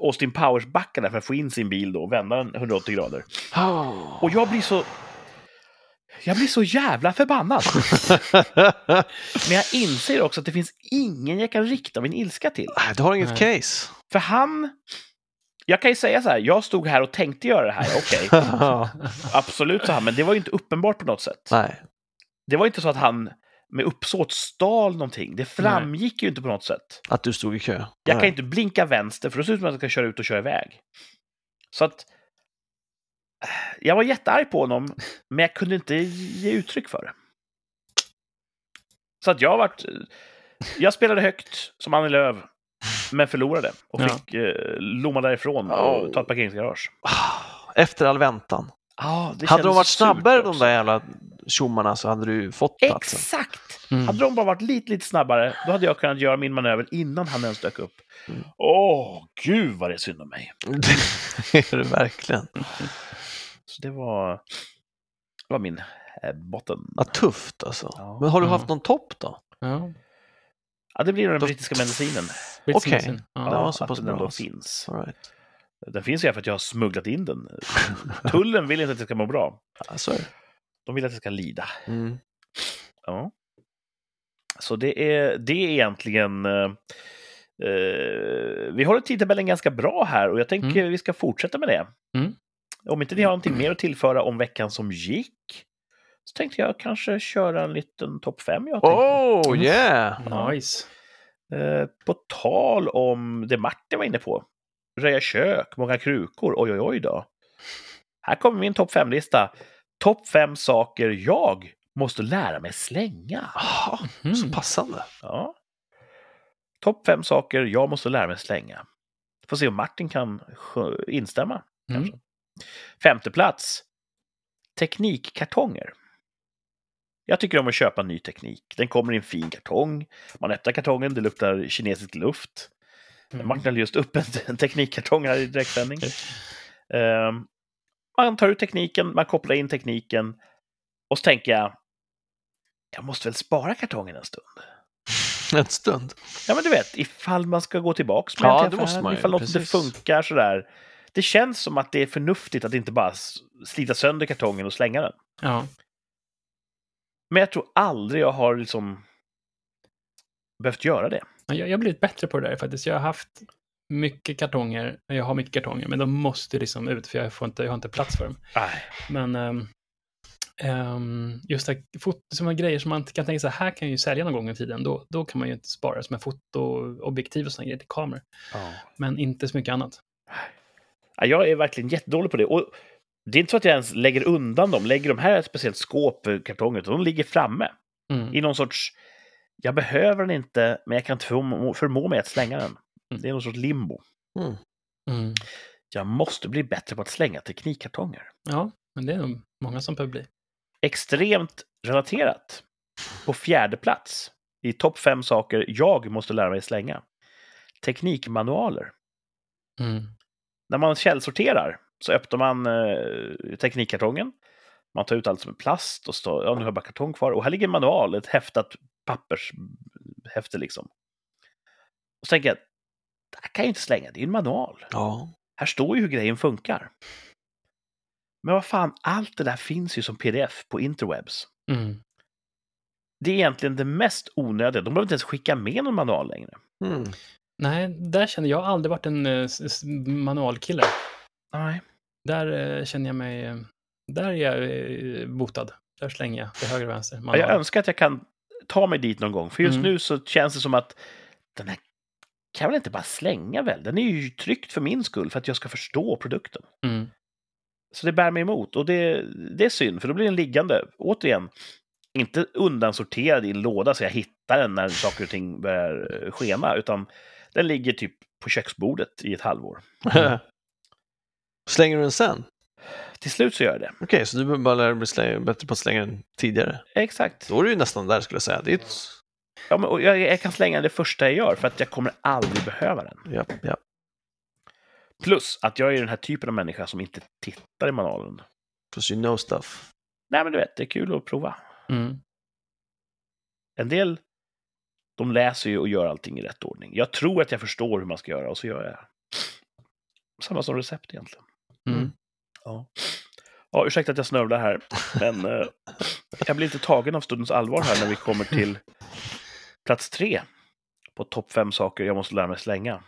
Austin Powers-backa där för att få in sin bil då och vända den 180 grader. Oh. Och jag blir så... Jag blir så jävla förbannad. Men jag inser också att det finns ingen jag kan rikta min ilska till. Nej, du har inget Nej. case. För han... Jag kan ju säga så här, jag stod här och tänkte göra det här. Okej, absolut så här, men det var ju inte uppenbart på något sätt. Nej. Det var inte så att han med uppsåt stal någonting. Det framgick ju inte på något sätt. Att du stod i kö. Jag Nej. kan inte blinka vänster för då ser det ut som att jag ska köra ut och köra iväg. Så att... eh, Jag var jättearg på honom, men jag kunde inte ge uttryck för det. Så att jag vart... eh, Jag spelade högt, som Annie Lööf, men förlorade. Och Ja. fick eh, lomma därifrån Oh. och ta ett parkeringsgarage. Ah, Efter all väntan. Ah, det hade de kändes varit surt snabbare de också. där jävla tjommarna så hade du fått platsen. Exakt! Mm. Hade de bara varit lite, lite snabbare, då hade jag kunnat göra min manöver innan han ens dök upp. Mm. Åh, gud vad det är synd om mig. det är det verkligen. Så det var, det var min eh, botten. Ja, tufft alltså. Ja. Men har du Ja. haft någon topp då? Ja. Ja, det blir den Då- brittiska medicinen. Lite Okej. som- Ja, Ja. var så att pass den bra ändå alltså. finns. All right. Den finns ju för att jag har smugglat in den. Tullen vill inte att jag ska må bra. ja, så är det. De vill att jag ska lida. Mm. Ja. Så det är, det är egentligen... eh, eh, vi håller tidtabellen ganska bra här och jag tänker Mm. vi ska fortsätta med det. Mm. Om inte ni har någonting mer att tillföra om veckan som gick så tänkte jag kanske köra en liten topp 5. Jag tänkte. Oh Mm. yeah! Ja. Nice. Eh, på tal om det Martin var inne på. Röja kök, många krukor, oj oj oj då. Här kommer min topp 5-lista. Topp 5 saker jag måste lära mig slänga. Ah, Mm. Så passande. Ja. Topp 5 saker jag måste lära mig slänga. Får se om Martin kan sjö- instämma. Mm. Femte plats. Teknikkartonger. Jag tycker om att köpa ny teknik. Den kommer i en fin kartong. Man öppnar kartongen, det luktar kinesisk luft. Mm. Martin höll just upp en, en teknikkartong här i direktsändning. Ehm, man tar ut tekniken, man kopplar in tekniken och så tänker jag, jag måste väl spara kartongen en stund. En stund. Ja, men du vet, ifall man ska gå tillbaks med Ja, en till det affären, måste man ju, ifall något inte precis. funkar sådär. Det känns som att det är förnuftigt att inte bara s- slita sönder kartongen och slänga den. Ja. Men jag tror aldrig jag har liksom behövt göra det. Men Jag, jag har blivit bättre på det där faktiskt. Jag har haft mycket kartonger, jag har mycket kartonger, men de måste liksom ut för jag, får inte, jag har inte plats för dem. Nej. Men ehm, ehm, just det här, fot- såna grejer som man inte kan tänka sig, här kan jag ju sälja någon gång i tiden, då, då kan man ju inte spara som en fotoobjektiv och sådana grejer till kameror. Men inte så mycket annat. Ja, jag är verkligen jättedålig på det. Och det är inte så att jag ens lägger undan dem, lägger de här i ett speciellt skåp för kartongen, utan de ligger framme Mm. i någon sorts... Jag behöver den inte, men jag kan inte förmå, förmå mig att slänga den. Mm. Det är någon sorts limbo. Mm. Jag måste bli bättre på att slänga teknikkartonger. Ja, men det är nog många som behöver bli. extremt relaterat. På fjärde plats i topp fem saker jag måste lära mig slänga. Teknikmanualer. Mm. När man källsorterar så öppnar man eh, teknikkartongen. Man tar ut allt som är plast och står, ja, nu har jag bara kartong kvar. Och här ligger en manual, ett häftat pappershäfte liksom. Och så tänker jag, det här kan jag inte slänga, det är ju en manual. Ja. Här står ju hur grejen funkar. Men vad fan, allt det där finns ju som pdf på interwebs. Mm. det är egentligen det mest onödiga. De behöver inte ens skicka med någon manual längre. Mm. Nej, där känner jag, jag har aldrig varit en eh, s- s- manualkille. Nej. Där eh, känner jag mig, eh, där är jag eh, botad. Där slänger jag till höger och vänster. Jag manualer. önskar att jag kan ta mig dit någon gång, för just Mm. nu så känns det som att den här kan jag väl inte bara slänga väl? Den är ju tryckt för min skull, för att jag ska förstå produkten. Mm. Så det bär mig emot och det, det är synd, för då blir den liggande. Återigen, inte undansorterad i en låda så jag hittar den när saker och ting börjar eh, skena, utan den ligger typ på köksbordet i ett halvår. Mm. Slänger du den sen? Till slut så gör jag det. Okej, så du behöver bara lära dig bli slä- bättre på att slänga den tidigare. Exakt. Då är du ju nästan där skulle jag säga. Det är ett... Ja, men, och jag, jag kan slänga det första jag gör för att jag kommer aldrig behöva den. ja, ja. Plus att jag är den här typen av människa som inte tittar i manualen. Because you know stuff. Nej, men du vet, det är kul att prova. Mm. En del, de läser ju och gör allting i rätt ordning. Jag tror att jag förstår hur man ska göra och så gör jag. Samma som recept egentligen. Mm. Ja, ursäkta att jag snörvlar här, men eh, jag blir inte tagen av stundens allvar här när vi kommer till plats tre på topp fem saker jag måste lära mig slänga.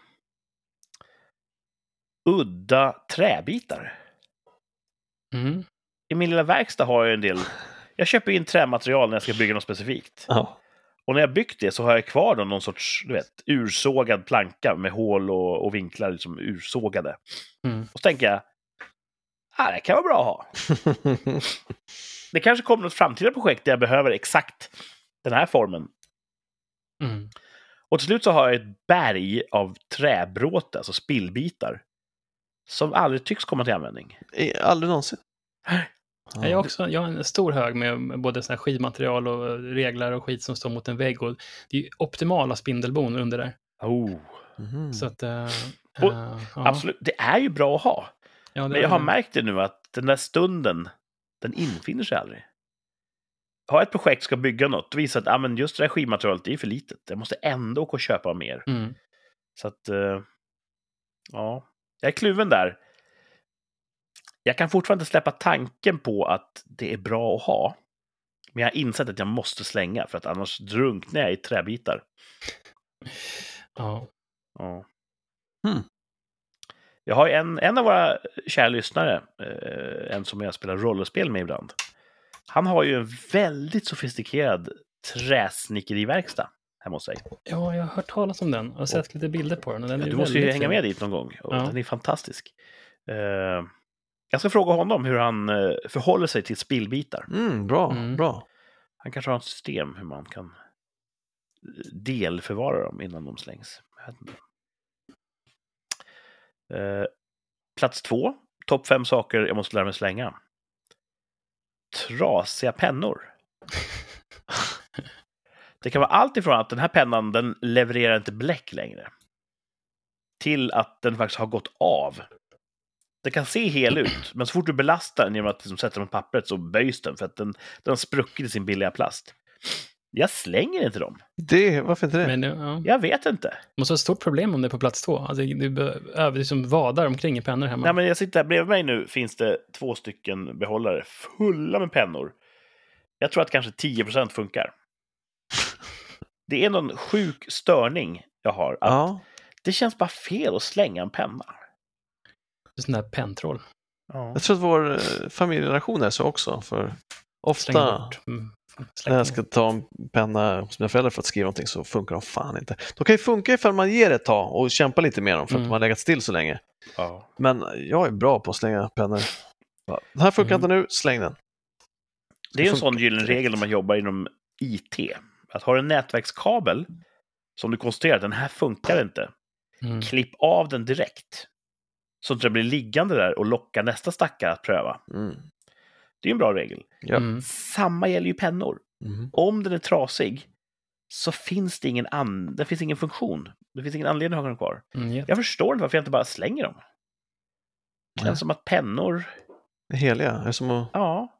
Udda träbitar. Mm. I min lilla verkstad har jag en del. Jag köper in trämaterial när jag ska bygga något specifikt. Ja. Och när jag byggt det så har jag kvar då någon sorts, du vet, ursågad planka med hål och, och vinklar liksom ursågade. Mm. Och så tänker jag, ah, det kan vara bra att ha. Det kanske kommer något framtida projekt där jag behöver exakt den här formen. Mm. Och till slut så har jag ett berg av träbråte, alltså spillbitar, som aldrig tycks komma till användning. Eh, Aldrig någonsin. Ja. Jag, har också, jag har en stor hög med både så här skivmaterial och eh, reglar och skit som står mot en vägg. Och det är ju optimala spindelbon under där. Oh. Mhm. Så att... eh, Och- eh, ja. Absolut, det är ju bra att ha. Ja, det Men är jag har det. märkt det nu att den där stunden, den infinner sig aldrig. Har jag ett projekt ska bygga något, då visar att ah, men just det där skivmaterialet det är för litet. Jag måste ändå gå och köpa mer. Mm. Så att, eh, ja, jag är kluven där. Jag kan fortfarande inte släppa tanken på att det är bra att ha. Men jag har insett att jag måste slänga för att annars drunknar jag i träbitar. Ja. Ja. Hmm. Jag har en, en av våra kära lyssnare, eh, en som jag spelar rollspel med ibland. Han har ju en väldigt sofistikerad träsnickeriverkstad hemma hos sig. ja, jag har hört talas om den och sett lite bilder på den. Och den Ja, är du måste ju väldigt hänga fin. med dit någon gång. Och Ja. Den är fantastisk. Eh, jag ska fråga honom hur han eh, förhåller sig till spillbitar. Mm, bra, Mm. bra. Han kanske har ett system hur man kan eh, delförvara dem innan de slängs. Jag vet inte. Eh, plats två, topp fem saker jag måste lära mig slänga. Trasiga pennor. Det kan vara allt ifrån att den här pennan den levererar inte bläck längre till att den faktiskt har gått av. Den kan se hel ut, men så fort du belastar den genom att liksom sätta den på pappret så böjs den för att den, den har spruckit i sin billiga plast. Jag slänger inte dem. Det, varför inte det? Men eh, ja, det Jag vet inte. måste vara ett stort problem om det är på plats två. Alltså, du be- över, liksom vadar omkring i pennor hemma. Nej, men jag sitter här bredvid mig nu finns det två stycken behållare fulla med pennor. Jag tror att kanske 10 funkar. Det är någon sjuk störning jag har. Att ja. Det känns bara fel att slänga en penna. Sån där penntroll. Ja. Jag tror att vår eh, familjerelation är så också. För Släng ofta bort. Mm. när Släng jag ska ta en penna hos mina föräldrar för att skriva någonting så funkar de fan inte. De kan ju funka ifall man ger det ett tag och kämpar lite med dem för att Mm. de har legat still så länge. Ja. Men jag är bra på att slänga pennor. Bara, Den här funkar Mm. inte nu, släng den. Det är ju en Funkar sån gyllene direkt. regel när man jobbar inom IT. Att har du en nätverkskabel som du konstaterar att den här funkar inte, Mm. klipp av den direkt. Så att den blir liggande där och locka nästa stackare att pröva. Mm. Det är ju en bra regel. Ja. Mm. Samma gäller ju pennor. Mm. Om den är trasig så finns det ingen, an- det finns ingen funktion. Det finns ingen anledning att ha den kvar. Mm, ja. Jag förstår inte varför jag inte bara slänger dem. Det Nej. känns som att pennor Det heliga är som att... Ja.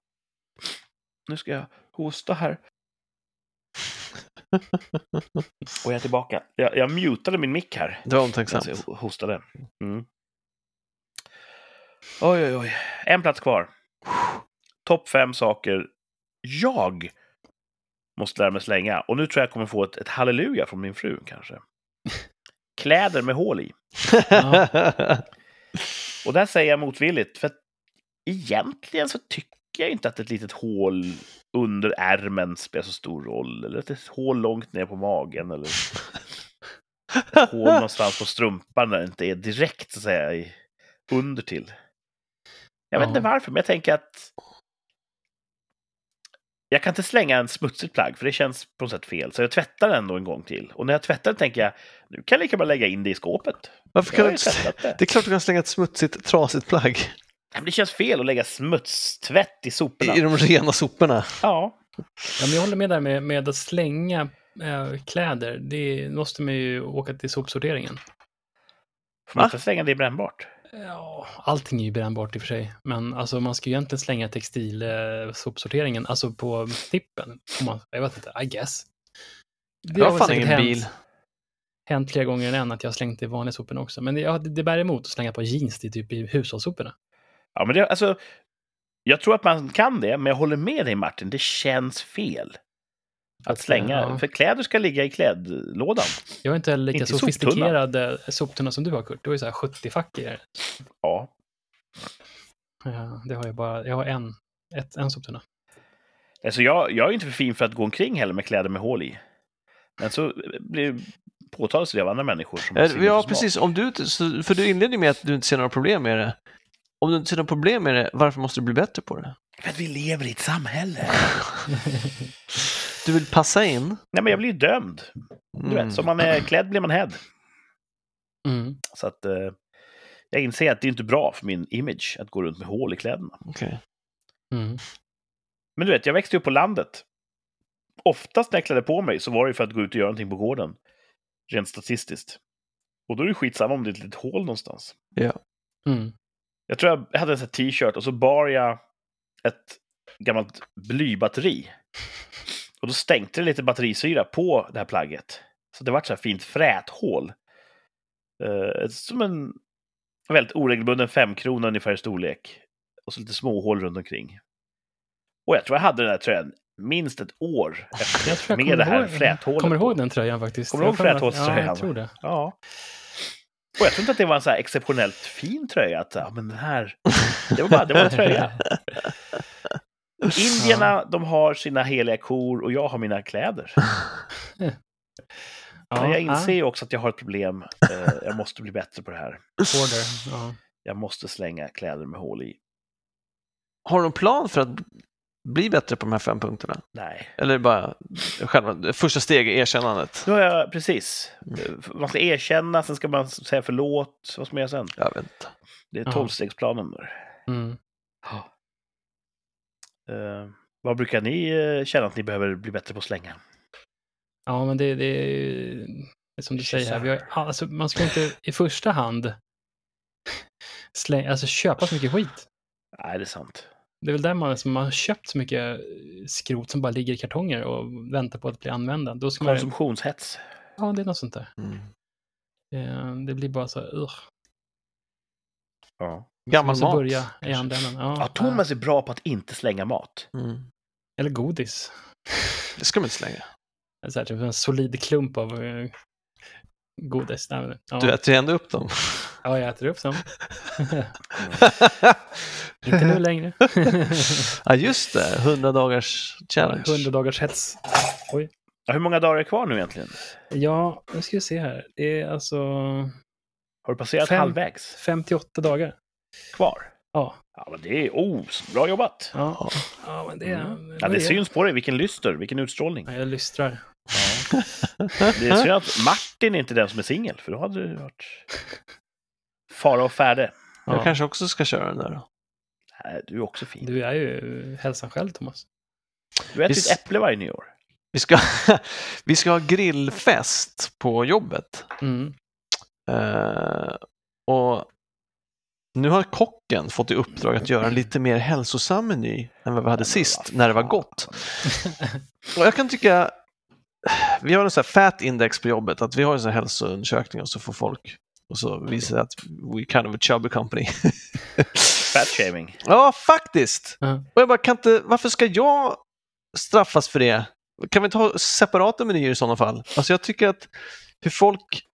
Nu ska jag hosta här. Och jag är tillbaka. Jag, jag mutade min mick här. Det var omtänksamt. Alltså, jag hostade. Mm. Oj, oj, oj. En plats kvar. Topp fem saker jag måste lära mig slänga. Och nu tror jag jag kommer få ett, ett halleluja från min fru kanske. Kläder med hål i. Och där säger jag motvilligt, för att egentligen så tycker jag inte att ett litet hål under ärmen spelar så stor roll. Eller att ett hål långt ner på magen eller ett hål någonstans på strumpan där det inte är direkt så att säga i, under till. Jag vet Ja. inte varför, men jag tänker att jag kan inte slänga en smutsigt plagg, för det känns på något sätt fel. Så jag tvättar den ändå en gång till. Och när jag tvättar den tänker jag, nu kan jag lika bra lägga in det i skåpet. Varför Jag kan har du ju inte... slä- tvättat det. Det är klart du kan slänga ett smutsigt, trasigt plagg Nej, men Det känns fel att lägga smutstvätt i soporna. i de rena soporna. Ja. Ja, men jag håller med där med, med att slänga eh, kläder. Det måste man ju åka till sopsorteringen. Får man Va? inte slänga det i brännbart? Ja, allting är ju brännbart i och för sig. Men alltså, man ska ju egentligen slänga textilsopsorteringen, eh, sopsorteringen, alltså på tippen. Om man, jag vet inte, I guess. Det Jag har väl fan säkert ingen bil. hänt fler gånger än att jag har slängt i vanliga soporna också. Men det, ja, det, det bär emot att slänga på jeans till typ i hushållssoporna. Ja, men det, alltså, jag tror att man kan det, men jag håller med dig Martin, det känns fel. Att slänga, ja. för kläder ska ligga i klädlådan. Jag är inte heller lika Inte i soptunnan. sofistikerad soptunna. soptunna som du har, Kurt. Du har ju så här 70 fack i det. Ja. Ja, det har jag bara. Jag har en, ett, en soptunna. Alltså, jag, jag är inte för fin för att gå omkring heller med kläder med hål i. Men så eh, blir påtalas det av andra människor. Som har sin Eh, Ja, smak. precis. Om du, inte- så- för du inledde ju med att du inte ser några problem med det. Om du inte ser några problem med det, varför måste du bli bättre på det? För att vi lever i ett samhälle. Du vill passa in. Nej, men jag blir ju dömd. Mm. Du vet, som man är klädd blir man hädd. Mm. Så att eh, jag inser att det är inte bra för min image att gå runt med hål i kläderna. Okej. Mm. Men du vet, jag växte upp på landet. Oftast när jag klädde på mig så var det ju för att gå ut och göra någonting på gården. Rent statistiskt. Och då är det skitsamma om det är ett litet hål någonstans. Mm. Jag tror jag hade en sån här t-shirt och så bar jag ett gammalt blybatteri. Och då stänkte det lite batterisyra på det här plagget. Så det vart så här fint fräthål. Eh, som en väldigt oregelbunden femkrona ungefär i storlek. Och så lite småhål runt omkring. Och jag tror jag hade den här tröjan minst ett år efter, Jag tror jag med det här ihåg- fräthålet. Kommer du på. ihåg den tröjan faktiskt? Kommer du ihåg Jag har för mig att- fräthålströjan? Ja, jag tror det. Ja. Och jag tror inte att det var en så här exceptionellt fin tröja. Att, ja, men den här, det var bara det var en tröja. Indierna, de har sina heliga kor och jag har mina kläder. Ja, Men jag inser ja, ju också att jag har ett problem. Eh, Jag måste bli bättre på det här. order. Ja. Jag måste slänga kläder med hål i. Har du någon plan för att bli bättre på de här fem punkterna? Nej. Eller är det bara själva det första steget, erkännandet? Nu har jag, precis. Eh, Man ska erkänna, sen ska man säga förlåt. Vad ska man göra sen? Jag vet inte. Det är Ja. tolvstegsplanen. där. Mm. Eh, vad brukar ni eh, känna att ni behöver bli bättre på att slänga? Ja, men det, det är ju- det är som du Kyssar. säger här. Vi har, alltså, man ska inte i första hand släng, alltså, köpa så mycket skit. Nej, det är sant. Det är väl där man, som man har köpt så mycket skrot som bara ligger i kartonger och väntar på att bli använda. Då ska man, Konsumtionshets. ja, det är något sånt där. Mm. Eh, Det blir bara så här, ugh. Ja. Gammal Måste mat. börja i kanske. andra änden. Ja, Ja, Thomas är bra på att inte slänga mat. Mm. ja. Eller godis. Det ska man inte slänga. Så här, typ en solid klump av eh, godis. Nej, men, ja. Du äter ju ändå upp dem. ja, jag äter upp dem. Inte nu längre. ja, just det. 100 dagars challenge. 100 dagars hets. Ja, hur många dagar är kvar nu egentligen? Ja, nu ska vi se här. Det är alltså Har du passerat Fem. halvvägs 58 dagar kvar? Ja. Ja, men det är... Oh, bra jobbat! Ja, ja men det är... Mm. Ja, vad det är- syns på dig. Vilken lyster, vilken utstrålning. Ja, jag lystrar. Det är synd att Martin är inte den som är singel, för då hade du varit fara och färde. Jag Ja. kanske också ska köra den där. då. Nej, du är också fin. Du är ju hälsan själv, Thomas. Du äter Visst. ett äpple varje nyår. Vi ska, vi ska ha grillfest på jobbet. Mm. Eh, och nu har kocken fått i uppdrag att göra en lite mer hälsosam meny än vad vi hade sist, när det var gott. Och jag kan tycka, vi har en sån här fat index på jobbet, att vi har en sån här hälsoundersökning och så får folk och så visar det att we kind of a chubby company. Fat shaming. ja, faktiskt. Ja. Och jag bara, kan inte, varför ska jag straffas för det? Kan vi inte ha separata menyer i sådana fall? Alltså jag tycker att hur folk...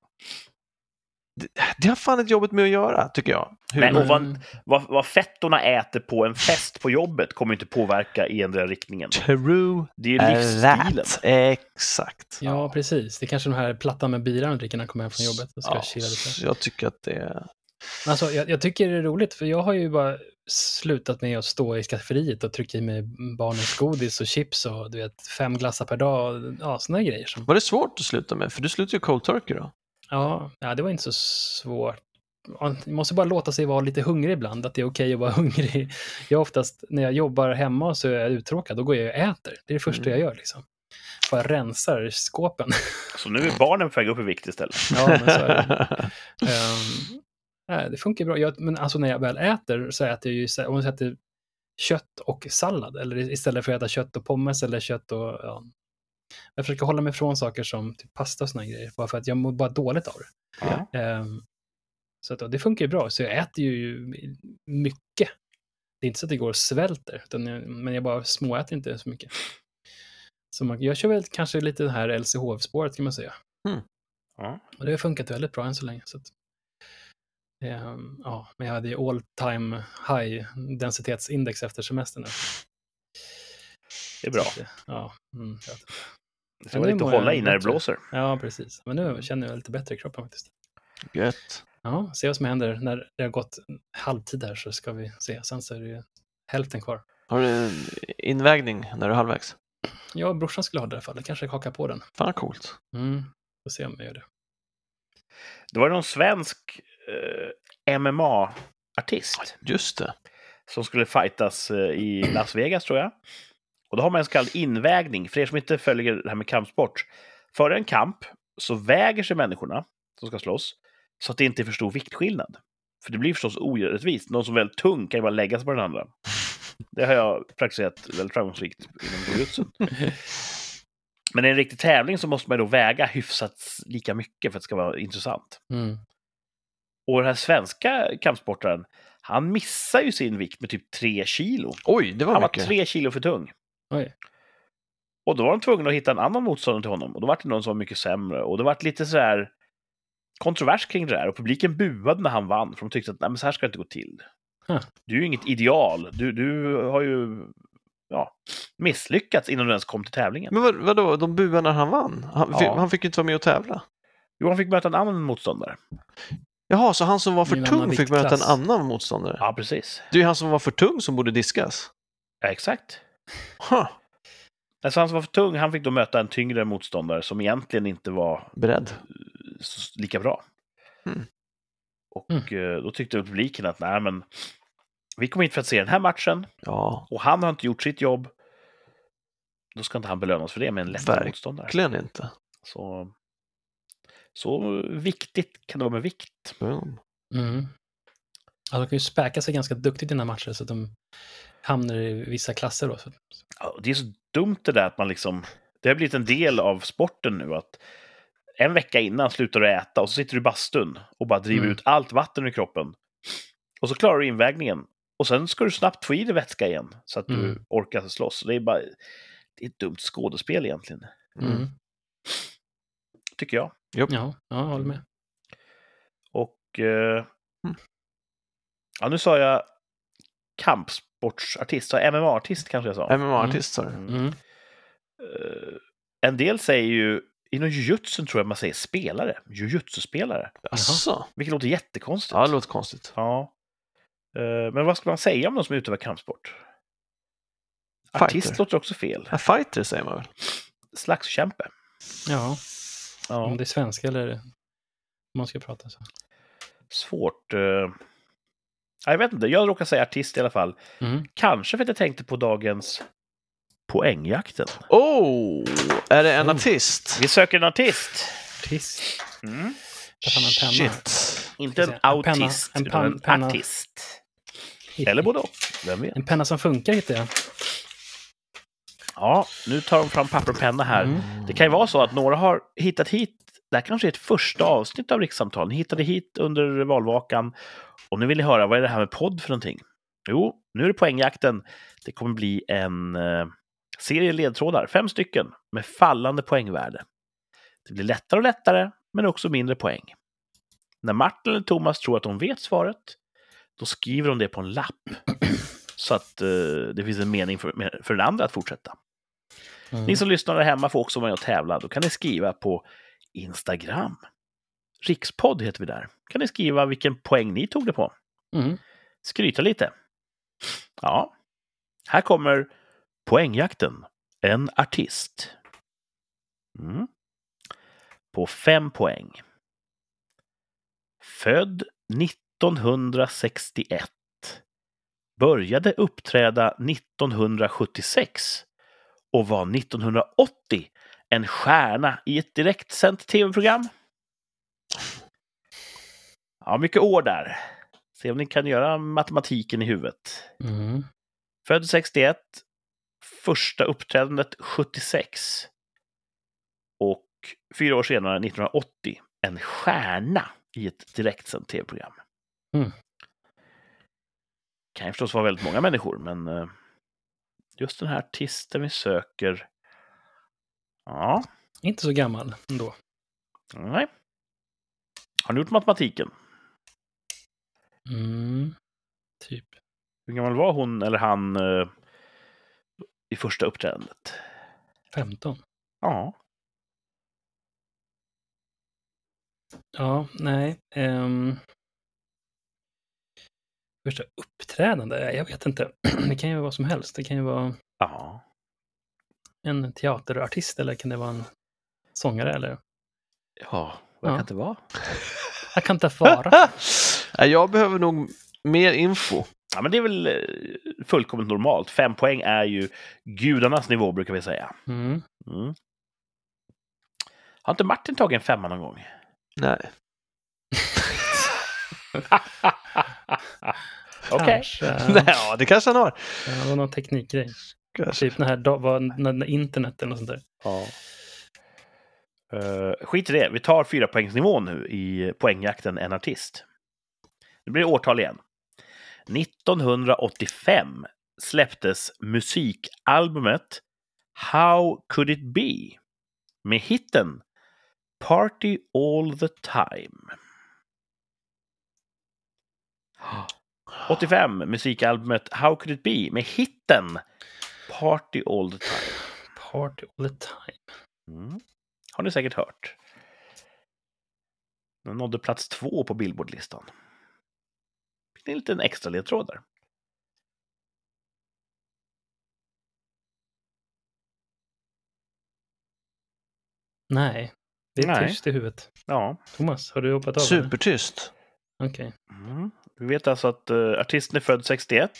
Det, det har fan ett jobbet med att göra, tycker jag. Hur, Men- Mm. Och vad- Vad, vad fettorna äter på en fest på jobbet kommer inte påverka i endera riktningen. True Det är ju Äh, livsstilen. that. Exakt. Ja, precis. Det är kanske de här plattan med bira de dricker när de kommer hem från jobbet. Jag ska Ja, chilla lite. jag tycker att det är... Men alltså, jag, jag tycker det är roligt, för jag har ju bara slutat med att stå i skafferiet och trycka i mig barnens godis och chips och du vet, fem glassar per dag och ja, såna här grejer. Som, Var det svårt att sluta med? För du slutar ju cold turkey då. ja, ja, det var inte så svårt. Man måste bara låta sig vara lite hungrig ibland, att det är okej att vara hungrig. Jag oftast, när jag jobbar hemma så är jag uttråkad, då går jag och äter. Det är det första Mm. jag gör liksom. Bara rensar skåpen. Så nu är barnen på väg upp i vikt istället. ja, men så är det. Ehm, nej, det funkar bra. Jag, men alltså när jag väl äter så äter jag ju, så- om jag äter kött och sallad, eller istället för att äta kött och pommes eller kött och, ja. Jag försöker hålla mig från saker som typ pasta och såna här grejer, bara för att jag mår bara dåligt av det. Ja. Ehm, så att, ja, det funkar ju bra, så jag äter ju mycket. Det är inte så att det går och svälter, utan jag, men jag bara småäter inte så mycket. Så man, jag kör väl kanske lite det här LCHF-spåret kan man säga. Hmm. Ja. Och det har funkat väldigt bra än så länge. Så att, Ehm, ja, men jag hade ju all time high densitetsindex efter semestern. nu. Det är bra. Så att, Ja, mm, jag vet inte. Det ska Ja, vara lite det att mår jag hålla i när det bättre. blåser. ja, precis. Men nu känner jag lite bättre i kroppen faktiskt. Gött. Ja, se vad som händer när det har gått halvtid här så ska vi se. Sen så är det ju hälften kvar. Har du en invägning när du är halvvägs? Jag och brorsan skulle ha det i alla fall. Jag kanske hakar på den. Fan coolt. Mm. Får se om jag gör det. Det var någon svensk eh, MMA-artist Just det. som skulle fightas eh, i Las Vegas, tror jag. Och då har man en så kallad invägning. För er som inte följer det här med kampsport. Före en kamp så väger sig människorna som ska slåss så att det inte är för stor viktskillnad. För det blir förstås orättvist. Någon som är väldigt tung kan ju bara lägga sig på den andra. Det har jag praktiserat väldigt framgångsrikt inom jujutsun. Men i en riktig tävling så måste man ju då väga hyfsat lika mycket för att det ska vara intressant. Mm. Och den här svenska kampsportaren, han missar ju sin vikt med typ tre kilo. Oj, det var Han var mycket. tre kilo för tung. Oj. Och då var de tvungna att hitta en annan motståndare till honom. Och då var det någon som var mycket sämre. Och det var lite så här kontrovers kring det där. Och publiken buade när han vann. För de tyckte att Nej, men så här ska det inte gå till. Huh. Du är ju inget ideal. Du, du har ju ja, misslyckats innan du ens kom till tävlingen. Men vad, vadå, de buade när han vann? Han, Ja. fi- han fick ju inte vara med och tävla. Jo, han fick möta en annan motståndare. Jaha, så han som var I för en tung annan fick möta en viktklass. annan motståndare? Ja, precis. Det är ju han som var för tung som borde diskas. Ja, exakt. Huh. Alltså han som var för tung, han fick då möta en tyngre motståndare som egentligen inte var Beredd. s- lika bra. Mm. Och eh, då tyckte väl publiken att nej, men vi kommer inte för att se den här matchen Ja, och han har inte gjort sitt jobb. Då ska inte han belönas för det med en lättare Verkligen. motståndare. verkligen inte. Så, så viktigt kan det vara med vikt. Boom. Mm. Ja, de kan ju späka sig ganska duktigt i den här matchen så att de hamnar i vissa klasser då. Så. Ja, Det är så dumt det där att man liksom... Det har blivit en del av sporten nu att en vecka innan slutar du äta och så sitter du i bastun och bara driver Mm. ut allt vatten ur kroppen. Och så klarar du invägningen. Och sen ska du snabbt få i dig vätska igen så att du Mm. orkar slåss. Det är bara... Det är ett dumt skådespel egentligen, Mm. Mm. tycker jag. Ja, ja, jag håller med. Och... Eh, Mm. ja, nu sa jag kampsportsartist, sa jag MMA-artist kanske jag sa. MMA-artist sa du? Mm. Eh, en del säger ju, inom jujutsun tror jag man säger spelare, jujutsu-spelare, Jaså? vilket låter jättekonstigt. Ja, det låter konstigt. Ja. Eh, Men vad ska man säga om de som utövar kampsport? Artist Fighter. låter också fel. A fighter säger man väl? Slagskämpe. Ja, Ja. Mm, om det är svenska eller om man ska prata så. Svårt. eh. Ja, Jag vet inte, jag råkar säga artist i alla fall. Mm. Kanske för att jag tänkte på dagens Poängjakten. Oh! Är det en Oh. artist? Vi söker en artist. Artist. Mm. Ta fram en penna. Shit! Inte en Ska jag säga, en penna, autist, en utan pan- penna. en artist. Eller både och. Vem vet? En penna som funkar hittar jag. Ja, nu tar de fram papper och penna här. Mm. Det kan ju vara så att några har hittat hit, det här kanske är ett första avsnitt av Rikssamtal, ni hittade hit under valvakan och nu vill ni höra, vad är det här med podd för någonting? Jo, nu är det poängjakten. Det kommer bli en eh, serie ledtrådar, fem stycken, med fallande poängvärde. Det blir lättare och lättare, men också mindre poäng. När Martin eller Thomas tror att de vet svaret, då skriver de det på en lapp så att eh, det finns en mening för, för den andra att fortsätta. Mm. Ni som lyssnar där hemma får också vara med och tävla. Då kan ni skriva på Instagram. Rikspodd heter vi där. kan ni skriva vilken poäng ni tog det på. Mm. Skryta lite. Ja, här kommer poängjakten. En artist. Mm. På fem poäng. Född 1961. Började uppträda 1976 och var 1980 en stjärna i ett direktsänt tv-program. Ja, mycket år där. Se om ni kan göra matematiken i huvudet. Mm. Född 61, första uppträdandet 76 och fyra år senare, 1980, en stjärna i ett direktsänt tv-program. Mm. Kan ju förstås vara väldigt många människor, men eh, just den här artisten vi söker. Ja, Inte så gammal ändå. nej. Har ni gjort matematiken? Mm. Typ. Hur gammal var hon eller han eh, i första uppträdandet? 15. Ja, Ja, nej. Um... Första uppträdande? Jag vet inte. Det kan ju vara vad som helst. Det kan ju vara ja. en teaterartist eller kan det vara en sångare eller? Ja, vad kan det vara? Jag kan inte vara. Ah! Nej, Jag behöver nog mer info. Ja, men det är väl eh, fullkomligt normalt. Fem poäng är ju gudarnas nivå, brukar vi säga. Mm. Mm. Har inte Martin tagit en femma någon gång? Nej. Okej. Kanske. Nej, ja, det kanske han har. Ja, Det var någon teknikgrej. Kanske. Typ när, här, da- vad- när, när internet eller något sånt där. Ja. Eh, skit i det, vi tar fyra poängsnivån nu i poängjakten En artist. Det blir årtal igen. 1985 släpptes musikalbumet How could it be? Med hitten Party all the time. 85, musikalbumet How could it be? Med hitten Party all the time. Party all the time. Mm. Har ni säkert hört. Den nådde plats två på Billboardlistan. Fick ni en liten extra ledtråd där. Nej, det är Nej. tyst i huvudet. Ja. Thomas, har du hoppat av? eller? Supertyst. Okej. Mm. Vi vet alltså att eh, artisten är född 61.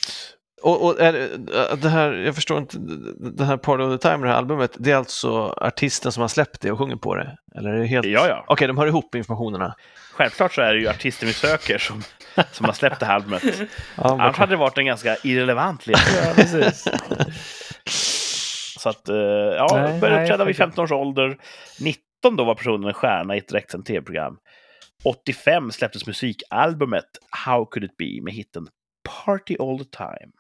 Och, och är det, äh, det här, jag förstår inte, den här Party of the Time, det här albumet, det är alltså artisten som har släppt det och sjunger på det? Eller är det helt... Ja, ja. Okej, de hör ihop informationerna. Självklart så är det ju artisten vi söker som, som har släppt det här albumet. Ja, Annars hade det varit en ganska irrelevant ledtråd. Ja, precis. Så att, eh, ja, Nej, började nej, uppträda vid faktiskt. 15 års ålder. 19 då var personen en stjärna i ett direktsänt tv-program. 85 släpptes musikalbumet How could it be med hitten Party all the time.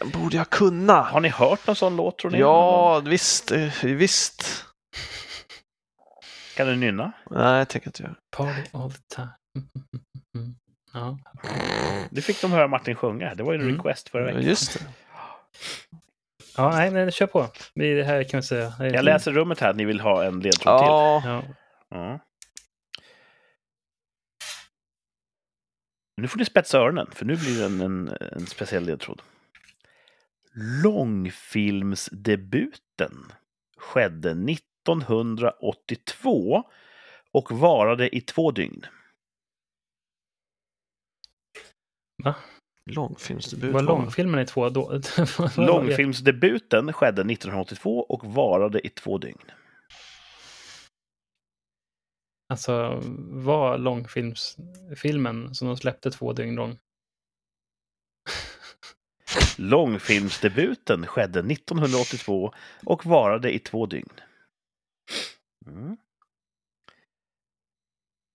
Den borde jag kunna. Har ni hört någon sån låt tror ni? Ja, visst. eh, visst. Kan du nynna? Nej, jag tänker inte göra. Party all the time. Mm. Ja. Det fick de höra Martin sjunga. Det var ju en Mm. request förra Ja, veckan. Just det. ja, nej, nej, kör på. Vi- Det här kan vi säga. Det är- Jag läser rummet här att ni vill ha en ledtråd Ja, Ja. till. Ja. Nu får ni spetsa öronen, för nu blir det en, en, en speciell ledtråd. Långfilmsdebuten skedde 1982 och varade i två dygn. långfilmsdebut. Var var det. långfilmen i två då? Långfilmsdebuten skedde 1982 och varade i två dygn. Alltså, var långfilmsfilmen som de släppte två dygn lång? Långfilmsdebuten skedde 1982 och varade i två dygn. Mm.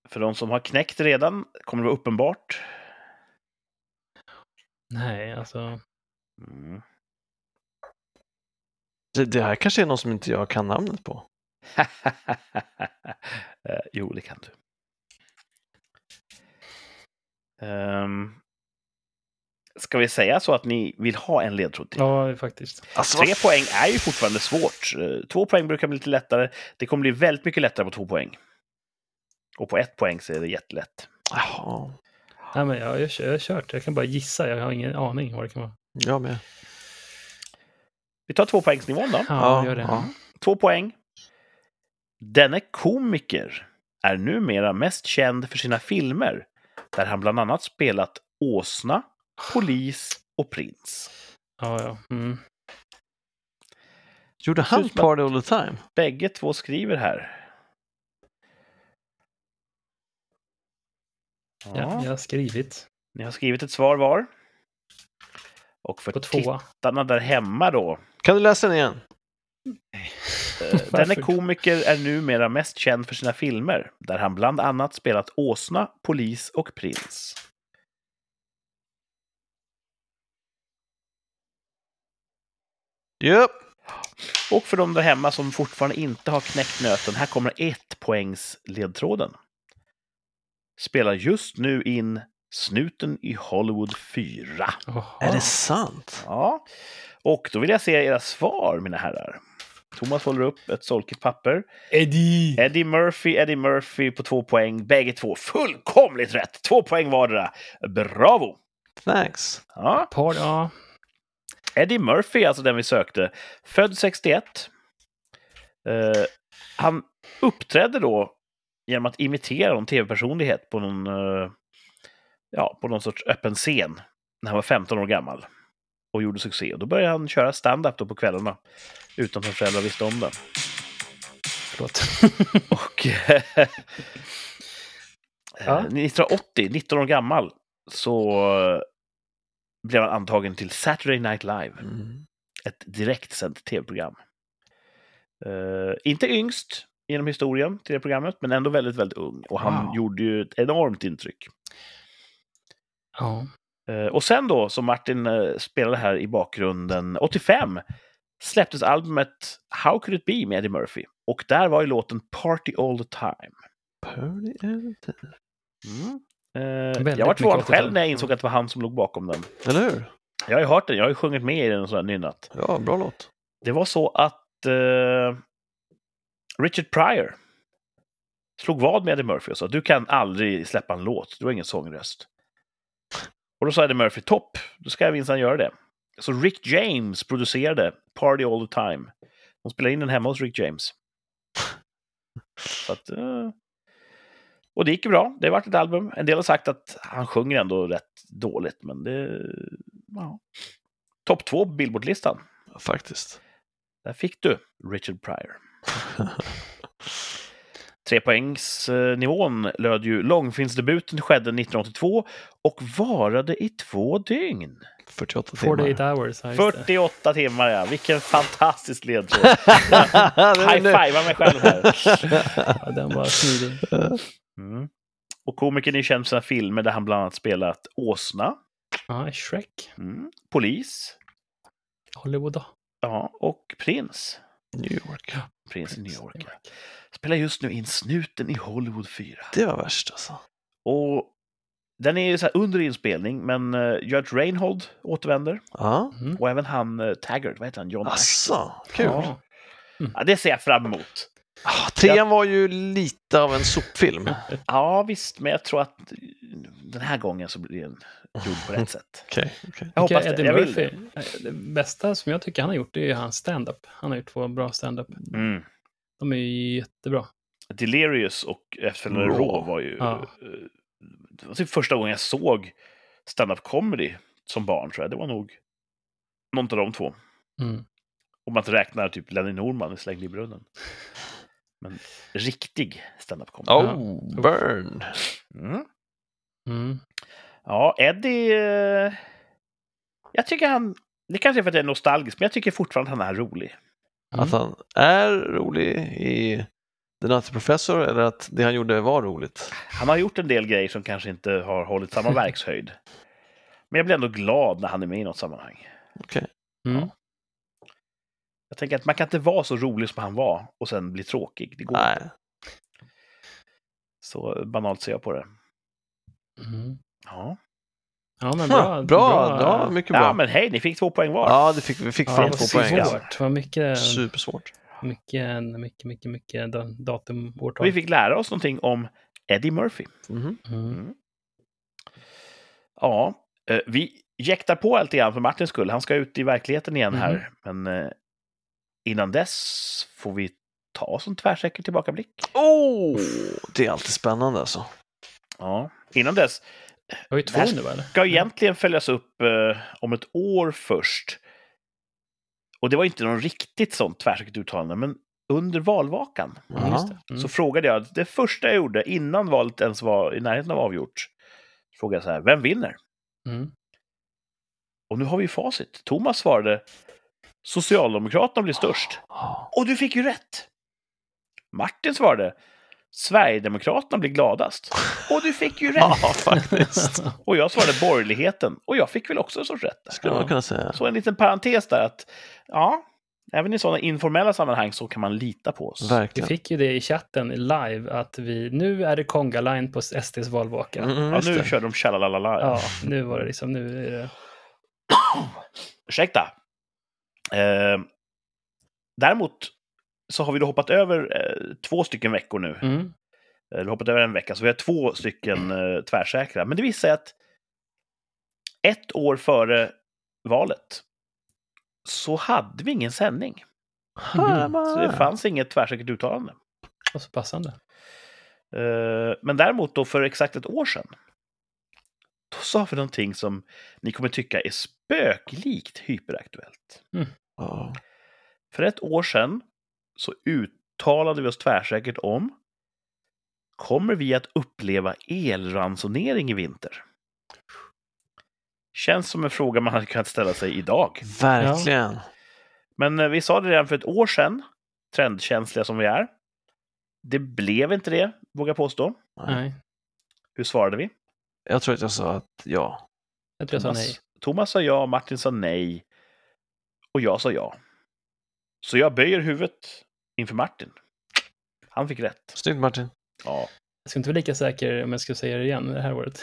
För de som har knäckt redan kommer det vara uppenbart. Nej, alltså. Mm. Det, det här kanske är någon som inte jag kan namnet på. Eh, jo, det kan du. Um, ska vi säga så att ni vill ha en ledtråd till? Ja, faktiskt. Alltså, Tre vad- poäng är ju fortfarande svårt. Eh, Två poäng brukar bli lite lättare. Det kommer bli väldigt mycket lättare på två poäng. Och på ett poäng så är det jättelätt. Jaha, Nej, men jag, jag, kör- jag har kört. Jag kan bara gissa. Jag har ingen aning vad det kan vara. jag med. Vi tar tvåpoängsnivån då. Ja, gör det. ja. Två poäng. Denne komiker är numera mest känd för sina filmer där han bland annat spelat åsna, polis och prins. Ja, ja. Mm. Gjorde han ut som att- Party all the time? Bägge två skriver här. Ja, Ja, jag har skrivit Ni har skrivit ett svar var. Och för på tvåa. tittarna där hemma då Kan du läsa den igen? Eh, Denne Varför? komiker är numera mest känd för sina filmer, där han bland annat spelat åsna, polis och prins. Japp. Och för de där hemma som fortfarande inte har knäckt nöten, här kommer ett poängs ledtråden. Spelar just nu in Snuten i Hollywood 4. Jaha. Är det sant? Ja. Och då vill jag se era svar, mina herrar. Thomas håller upp ett solkigt papper. Eddie! Eddie Murphy, Eddie Murphy på två poäng. Bägge två fullkomligt rätt! Två poäng vardera. Bravo! Thanks. Ja. Par, ja. Eddie Murphy, alltså den vi sökte. Född 61. Eh, han uppträdde då genom att imitera någon tv-personlighet på någon, eh, ja, på någon sorts öppen scen när han var 15 år gammal och gjorde succé. Och då började han köra stand-up då på kvällarna utan att hans föräldrar visste om det. Förlåt. Och eh, Ja. 1980, 19 år gammal, så eh, blev han antagen till Saturday Night Live Mm. ett direktsänt tv-program. Eh, inte yngst genom historien till det programmet, men ändå väldigt, väldigt ung. Och han Wow. gjorde ju ett enormt intryck. ja. Eh, och sen då, som Martin eh, spelade här i bakgrunden, 85 släpptes albumet How Could It Be med Eddie Murphy. Och där var ju låten Party All The Time. Party and- Mm. Eh, Väldigt jag var förvånad mycket 80-tal. själv när jag insåg att det var han som låg bakom den. Eller hur? Jag har ju hört den, jag har ju sjungit med i den och sådär nynnat. Ja, bra låt. Det var så att eh, Richard Pryor slog vad med Eddie Murphy och sa du kan aldrig släppa en låt, du har ingen sångröst. Och då sa Eddie Murphy topp, då ska jag minsann göra det. Så Rick James producerade Party All The Time. De spelade in den hemma hos Rick James. Så att, eh, och det gick ju bra, det vart ett album. En del har sagt att han sjunger ändå rätt dåligt, men det... Ja. Topp två på Billboard-listan. Faktiskt. Där fick du Richard Pryor. Trepoängsnivån löd ju långfilmsdebuten skedde 1982 och varade i två dygn. 48 timmar. 48 hours. Ja, just det. 48 timmar, ja. Vilken fantastisk ledtråd. High five mig själv här. Ja, den var smidig. Mm. Och komikern är ju känd för sina filmer där han bland annat spelat åsna, Ja, Shrek. mm. polis Hollywood då. ja, och prins. New York. Prins i New York. ja. Spelar just nu in Snuten i Hollywood 4. Det var värst alltså. Och den är ju så här under inspelning, men eh, George Reinhold återvänder. Ja. Mm. Och även han eh, Taggart, vad heter han? John Ash. Asså, kul. Ja. Ja, det ser jag fram emot. Ah, trean var ju lite av en sopfilm. Ja, visst, men jag tror att den här gången så blir den gjord på rätt sätt. Okej, okej. Jag Tycker hoppas jag det. Eddie Jag vill Murphy, det. eh, det bästa som jag tycker han har gjort, det är ju hans stand-up. Han har gjort två bra stand-up. Mm. De är ju jättebra. Delirious och efterföljande Raw. Raw var ju... Ja. eh, Det var typ första gången jag såg stand-up comedy som barn, tror jag. Det var nog någon av de två. Mm. Om man inte räknar typ Lenny Norman i Slängd i brunnen. Men riktig stand-up comedy. Oh, burn. Mm. Mm. Ja, Eddie... eh, Jag tycker han... Det kanske är för att jag är nostalgisk, men jag tycker fortfarande han är rolig. Mm. Att han är rolig i The Nutty Professor eller att det han gjorde var roligt. Han har gjort en del grejer som kanske inte har hållit samma verkshöjd. Men jag blir ändå glad när han är med i något sammanhang. Mm. Jag tänker att man kan inte vara så rolig som han var och sen bli tråkig. Oh. Det går inte. Nej, Så banalt ser jag på det. Mm. Ja, Ja, men bra, bra. bra, bra. mycket bra. ja Ja, men hej, ni fick två poäng var. det fick, vi fick Ja, fram det två var poäng. Alltså. Svårt. Det var mycket, Supersvårt. mycket, mycket, mycket, mycket da- datum, årtal. Vi fick lära oss någonting om Eddie Murphy. Mhm. Mm. Ja, eh, vi jäktar på lite grann för Martins skull. Han ska ut i verkligheten igen här. Mm. Men eh, innan dess får vi ta oss en tvärsäker tillbakablick. Oh, det är alltid spännande alltså. Ja. Innan dess Det var ju två Det här- nu, eller? ska egentligen följas upp eh, om ett år först. Och det var inte någon riktigt sånt tvärsäkert uttalande, men under valvakan Mm, just det. så Mm. frågade jag, det första jag gjorde innan valet ens var i närheten av avgjort, frågade jag så här, vem vinner? Mm. Och nu har vi facit. Thomas svarade Socialdemokraterna blir störst. Ja. Och du fick ju rätt! Martin svarade Sverigedemokraterna blir gladast. Och du fick ju rätt! Ja, faktiskt. Och jag svarade borgerligheten. Och jag fick väl också en sorts rätt. Där. Skulle man kunna säga. Så en liten parentes där att ja, även i sådana informella sammanhang så kan man lita på oss. Vi Verkligen. fick ju det i chatten live att vi, nu är det Konga-line på SDs valvaka. Mm, mm, Ja, visst nu det. kör de tjalalala. Ja, nu var det liksom, nu är det... Ursäkta. Eh, däremot så har vi då hoppat över eh, två stycken veckor nu. Mm. eller hoppat över en vecka, så vi har två stycken eh, tvärsäkra. Men det visar sig att ett år före valet så hade vi ingen sändning. Så Ah. det fanns inget tvärsäkert uttalande. Mhm. Och så passande. Eh, men däremot då för exakt ett år sedan, då sa vi någonting som ni kommer tycka är spöklikt hyperaktuellt. Ja. För ett år sedan så uttalade vi oss tvärsäkert om Kommer vi att uppleva elransonering i vinter? Känns som en fråga man hade kunnat ställa sig idag. Verkligen. Men eh, vi sa det redan för ett år sedan, trendkänsliga som vi är. Det blev inte det, vågar jag påstå. Nej, Hur svarade vi? Jag tror att jag sa att ja. jag tror jag sa nej. Thomas sa ja, Martin sa nej och jag sa ja. Så jag böjer huvudet inför Martin. Han fick rätt. Snyggt Martin. Ja. Jag skulle inte vara lika säker om jag skulle säga det igen det här året.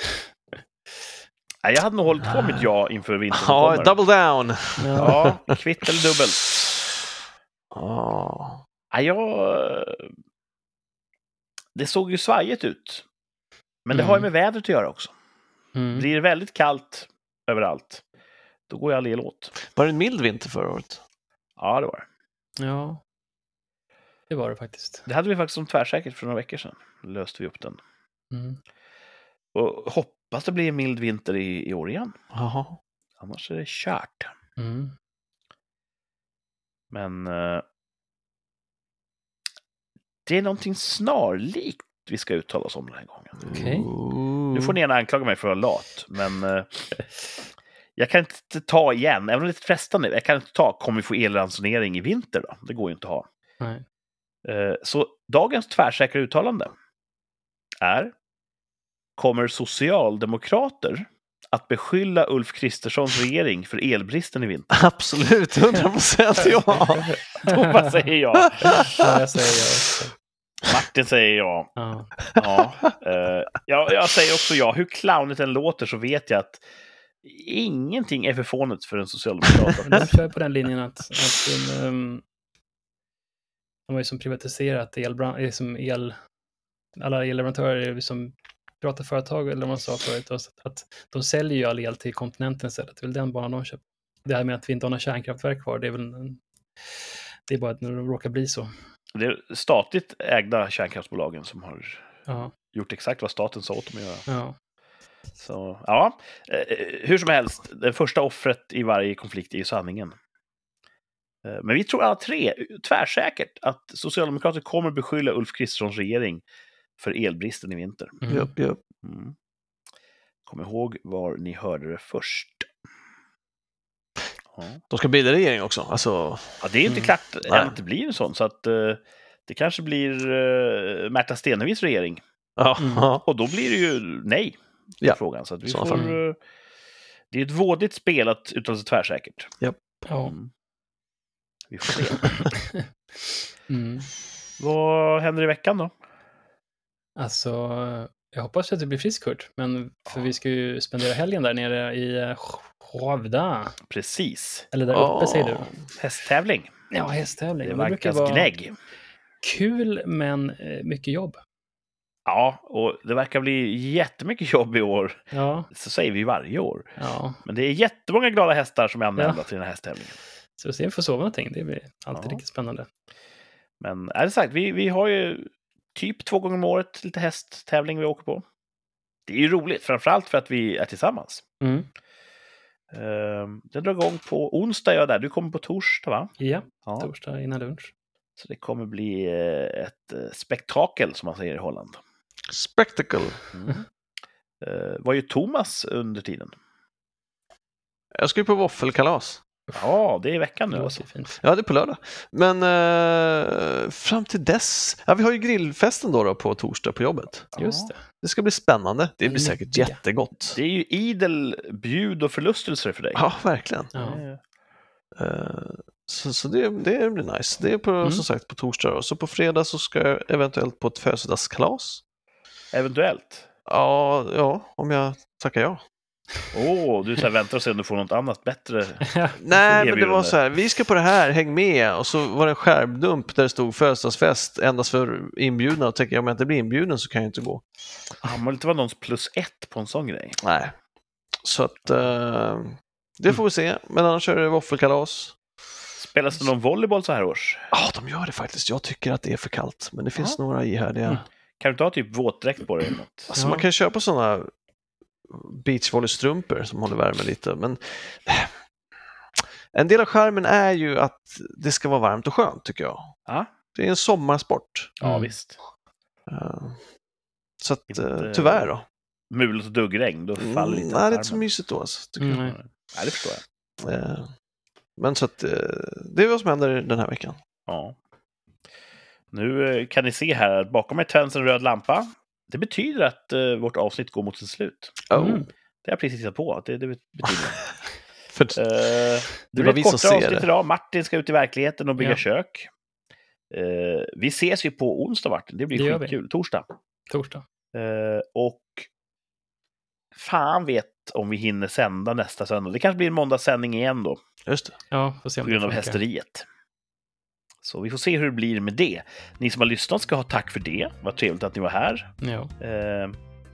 Nej, Jag hade nog hållit på mitt ja inför vintern som Ah. Ja, kommer. double down. Ja, kvitt eller dubbelt. Ja. Ja, jag... eh, Det såg ju svajigt ut. Men det har ju med vädret att göra också. Mm. Blir det väldigt kallt överallt, då går jag all el åt. Var det en mild vinter förra året? Ja, det var det. ja. Det var det faktiskt. Det hade vi faktiskt som tvärsäkert för några veckor sedan. Löste vi upp den. Mm. Och hoppas det blir en mild vinter i, i år igen. Jaha. Annars är det kört. Mm. Men... eh, Det är någonting snarlikt vi ska uttala oss om den här gången. Okej. Nu får ni gärna anklaga mig för att vara lat, men eh, jag kan inte ta igen, även om det är frestande, jag kan inte ta kommer vi få elransonering i vinter då? Det går ju inte att ha. Nej. Eh, så dagens tvärsäkra uttalande är Kommer socialdemokrater att beskylla Ulf Kristerssons regering för elbristen i vinter? Absolut, 100 procent ja. Och vad säger jag? ja, jag säger ja också. Martin säger ja. Ja. Ja, eh, jag, jag säger också ja. Hur clownigt den låter så vet jag att ingenting är för fånigt för en socialdemokrat. Men de kör på den linjen att, att um, de har ju som privatiserat elbran- eh, som el, alla elleverantörer är ju som privata företag eller vad man sa förut, och så att, att de säljer ju all el till kontinenten istället. Det är väl den banan de köper. Det här med att vi inte har några kärnkraftverk kvar, det är väl en, det är bara att det råkar bli så. Det är statligt ägda kärnkraftsbolagen som har Ja, gjort exakt vad staten sa åt dem att göra. ja. Så, ja, eh, hur som helst, det första offret i varje konflikt är ju sanningen. Eh, Men vi tror alla tre tvärsäkert att Socialdemokraterna kommer beskylla Ulf Kristerssons regering för elbristen i vinter. Mm. Japp, japp. Mm. Kom ihåg var ni hörde det först. Ja, De ska bilda regering också. Alltså, ja det är ju inte Mm. klart Nej. än att det blir en sån, så att eh, det kanske blir eh, Märta Stenevis regering. ja. Mm. ja. Och då blir det ju nej på Ja, frågan. Så att vi i så får, fall. eh, det är ett vådigt spel att uttala sig tvärsäkert. ja. Mm. Vi får se. Mm. Vad händer i veckan då? Alltså, jag hoppas att du blir frisk Kurt, men för vi ska ju spendera helgen där nere i Hovda. Precis. Eller där uppe säger du. Hästtävling. Ja, hästtävling. Det Och Det brukar vankas vara gnägg. kul, men eh, mycket jobb. Ja, och det verkar bli jättemycket jobb i år. Ja, Så säger vi ju varje år. ja. Men det är jättemånga glada hästar som är anmälda till den här hästtävlingen. Så vi ser om vi får sova någonting. Det blir alltid Ja. riktigt spännande. Men är det sagt, vi, vi har ju typ två gånger om året lite hästtävling vi åker på. Det är ju roligt, framförallt för att vi är tillsammans. Mm. Ehm, Den drar igång på onsdag, är jag där. Du kommer på torsdag, va? Ja, Ja. torsdag innan lunch. Så det kommer bli eh, ett eh, spektakel, som man säger i Holland. Spectacle. Mm. Eh, Var ju Thomas under tiden? Jag ska ju på våffelkalas. Ja, det är i veckan nu Det alltså. låter fint. Ja, det är på lördag. Men eh, fram till dess. Ja, vi har ju grillfesten då, då på torsdag på jobbet. Just det. Det ska bli spännande. Det blir Lycka. säkert jättegott. Det är ju idel bjud och förlustelser för dig. Ja, verkligen. Ja. Eh, Så, så det, det blir nice. Det är på, Mm. som sagt på torsdag. Då. Så på fredag så ska jag eventuellt på ett födelsedagskalas. Eventuellt. Ja, ja, om jag tackar ja. Åh, du så här väntar och ser om du får något annat bättre. Nej, men det Erbjudande. var så här, vi ska på det här, häng med. Och så var det en skärmdump där det stod födelsedagsfest endast för inbjudna. Och tänker jag, om jag inte blir inbjuden så kan jag inte gå. Ah, man vill inte vara någons plus ett på en sån grej. Nej. Så att eh, det får vi se. Men annars är det våffelkalas. Spelas det någon volleyboll så här års? Ja, de gör det faktiskt. Jag tycker att det är för kallt. Men det finns några ihärdiga. Mm. Kan du inte ha typ våtdräkt på dig eller något? Alltså Ja. man kan ju köpa sådana beachvolleystrumpor som håller värmen lite, men eh, en del av skärmen är ju att det ska vara varmt och skönt tycker jag. Ja, Det är en sommarsport. ja Mm. visst. Eh, Så att, eh, Inte- tyvärr då. Mulet och duggregn, då faller Mm, lite nej, det av är inte så skärmen. mysigt då. Alltså, tycker Mm, nej. Nej, det förstår jag. jag. Eh, Men så att eh, det är vad som händer den här veckan. Ja. Nu eh, kan ni se här att bakom mig tänds en röd lampa. Det betyder att eh, vårt avsnitt går mot sitt slut. Oh. Mm. Det har jag precis hittat på. att Det, det betyder. För, Eh, det var blir vi ett som kortare ser avsnitt det. idag. Martin ska ut i verkligheten och bygga Ja. kök. Eh, vi ses ju på onsdag, Martin. Det blir Det gör vi. skitkul. Torsdag. Torsdag. Eh, och fan vet om vi hinner sända nästa söndag. Det kanske blir en måndagssändning igen då, just det. Ja, får se om på grund av funkar. hästeriet. Så vi får se hur det blir med det. Ni som har lyssnat ska ha tack för det. Vad trevligt att ni var här. Ja. Eh,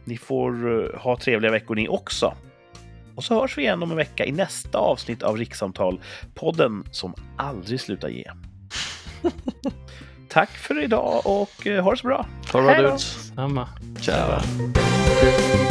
ni får eh, ha trevliga veckor ni också. Och så hörs vi igen om en vecka i nästa avsnitt av Rikssamtal, podden som aldrig slutar ge. Tack för idag och eh, ha det så bra. Ha det Hej bra då. dudes. Samma. Ciao.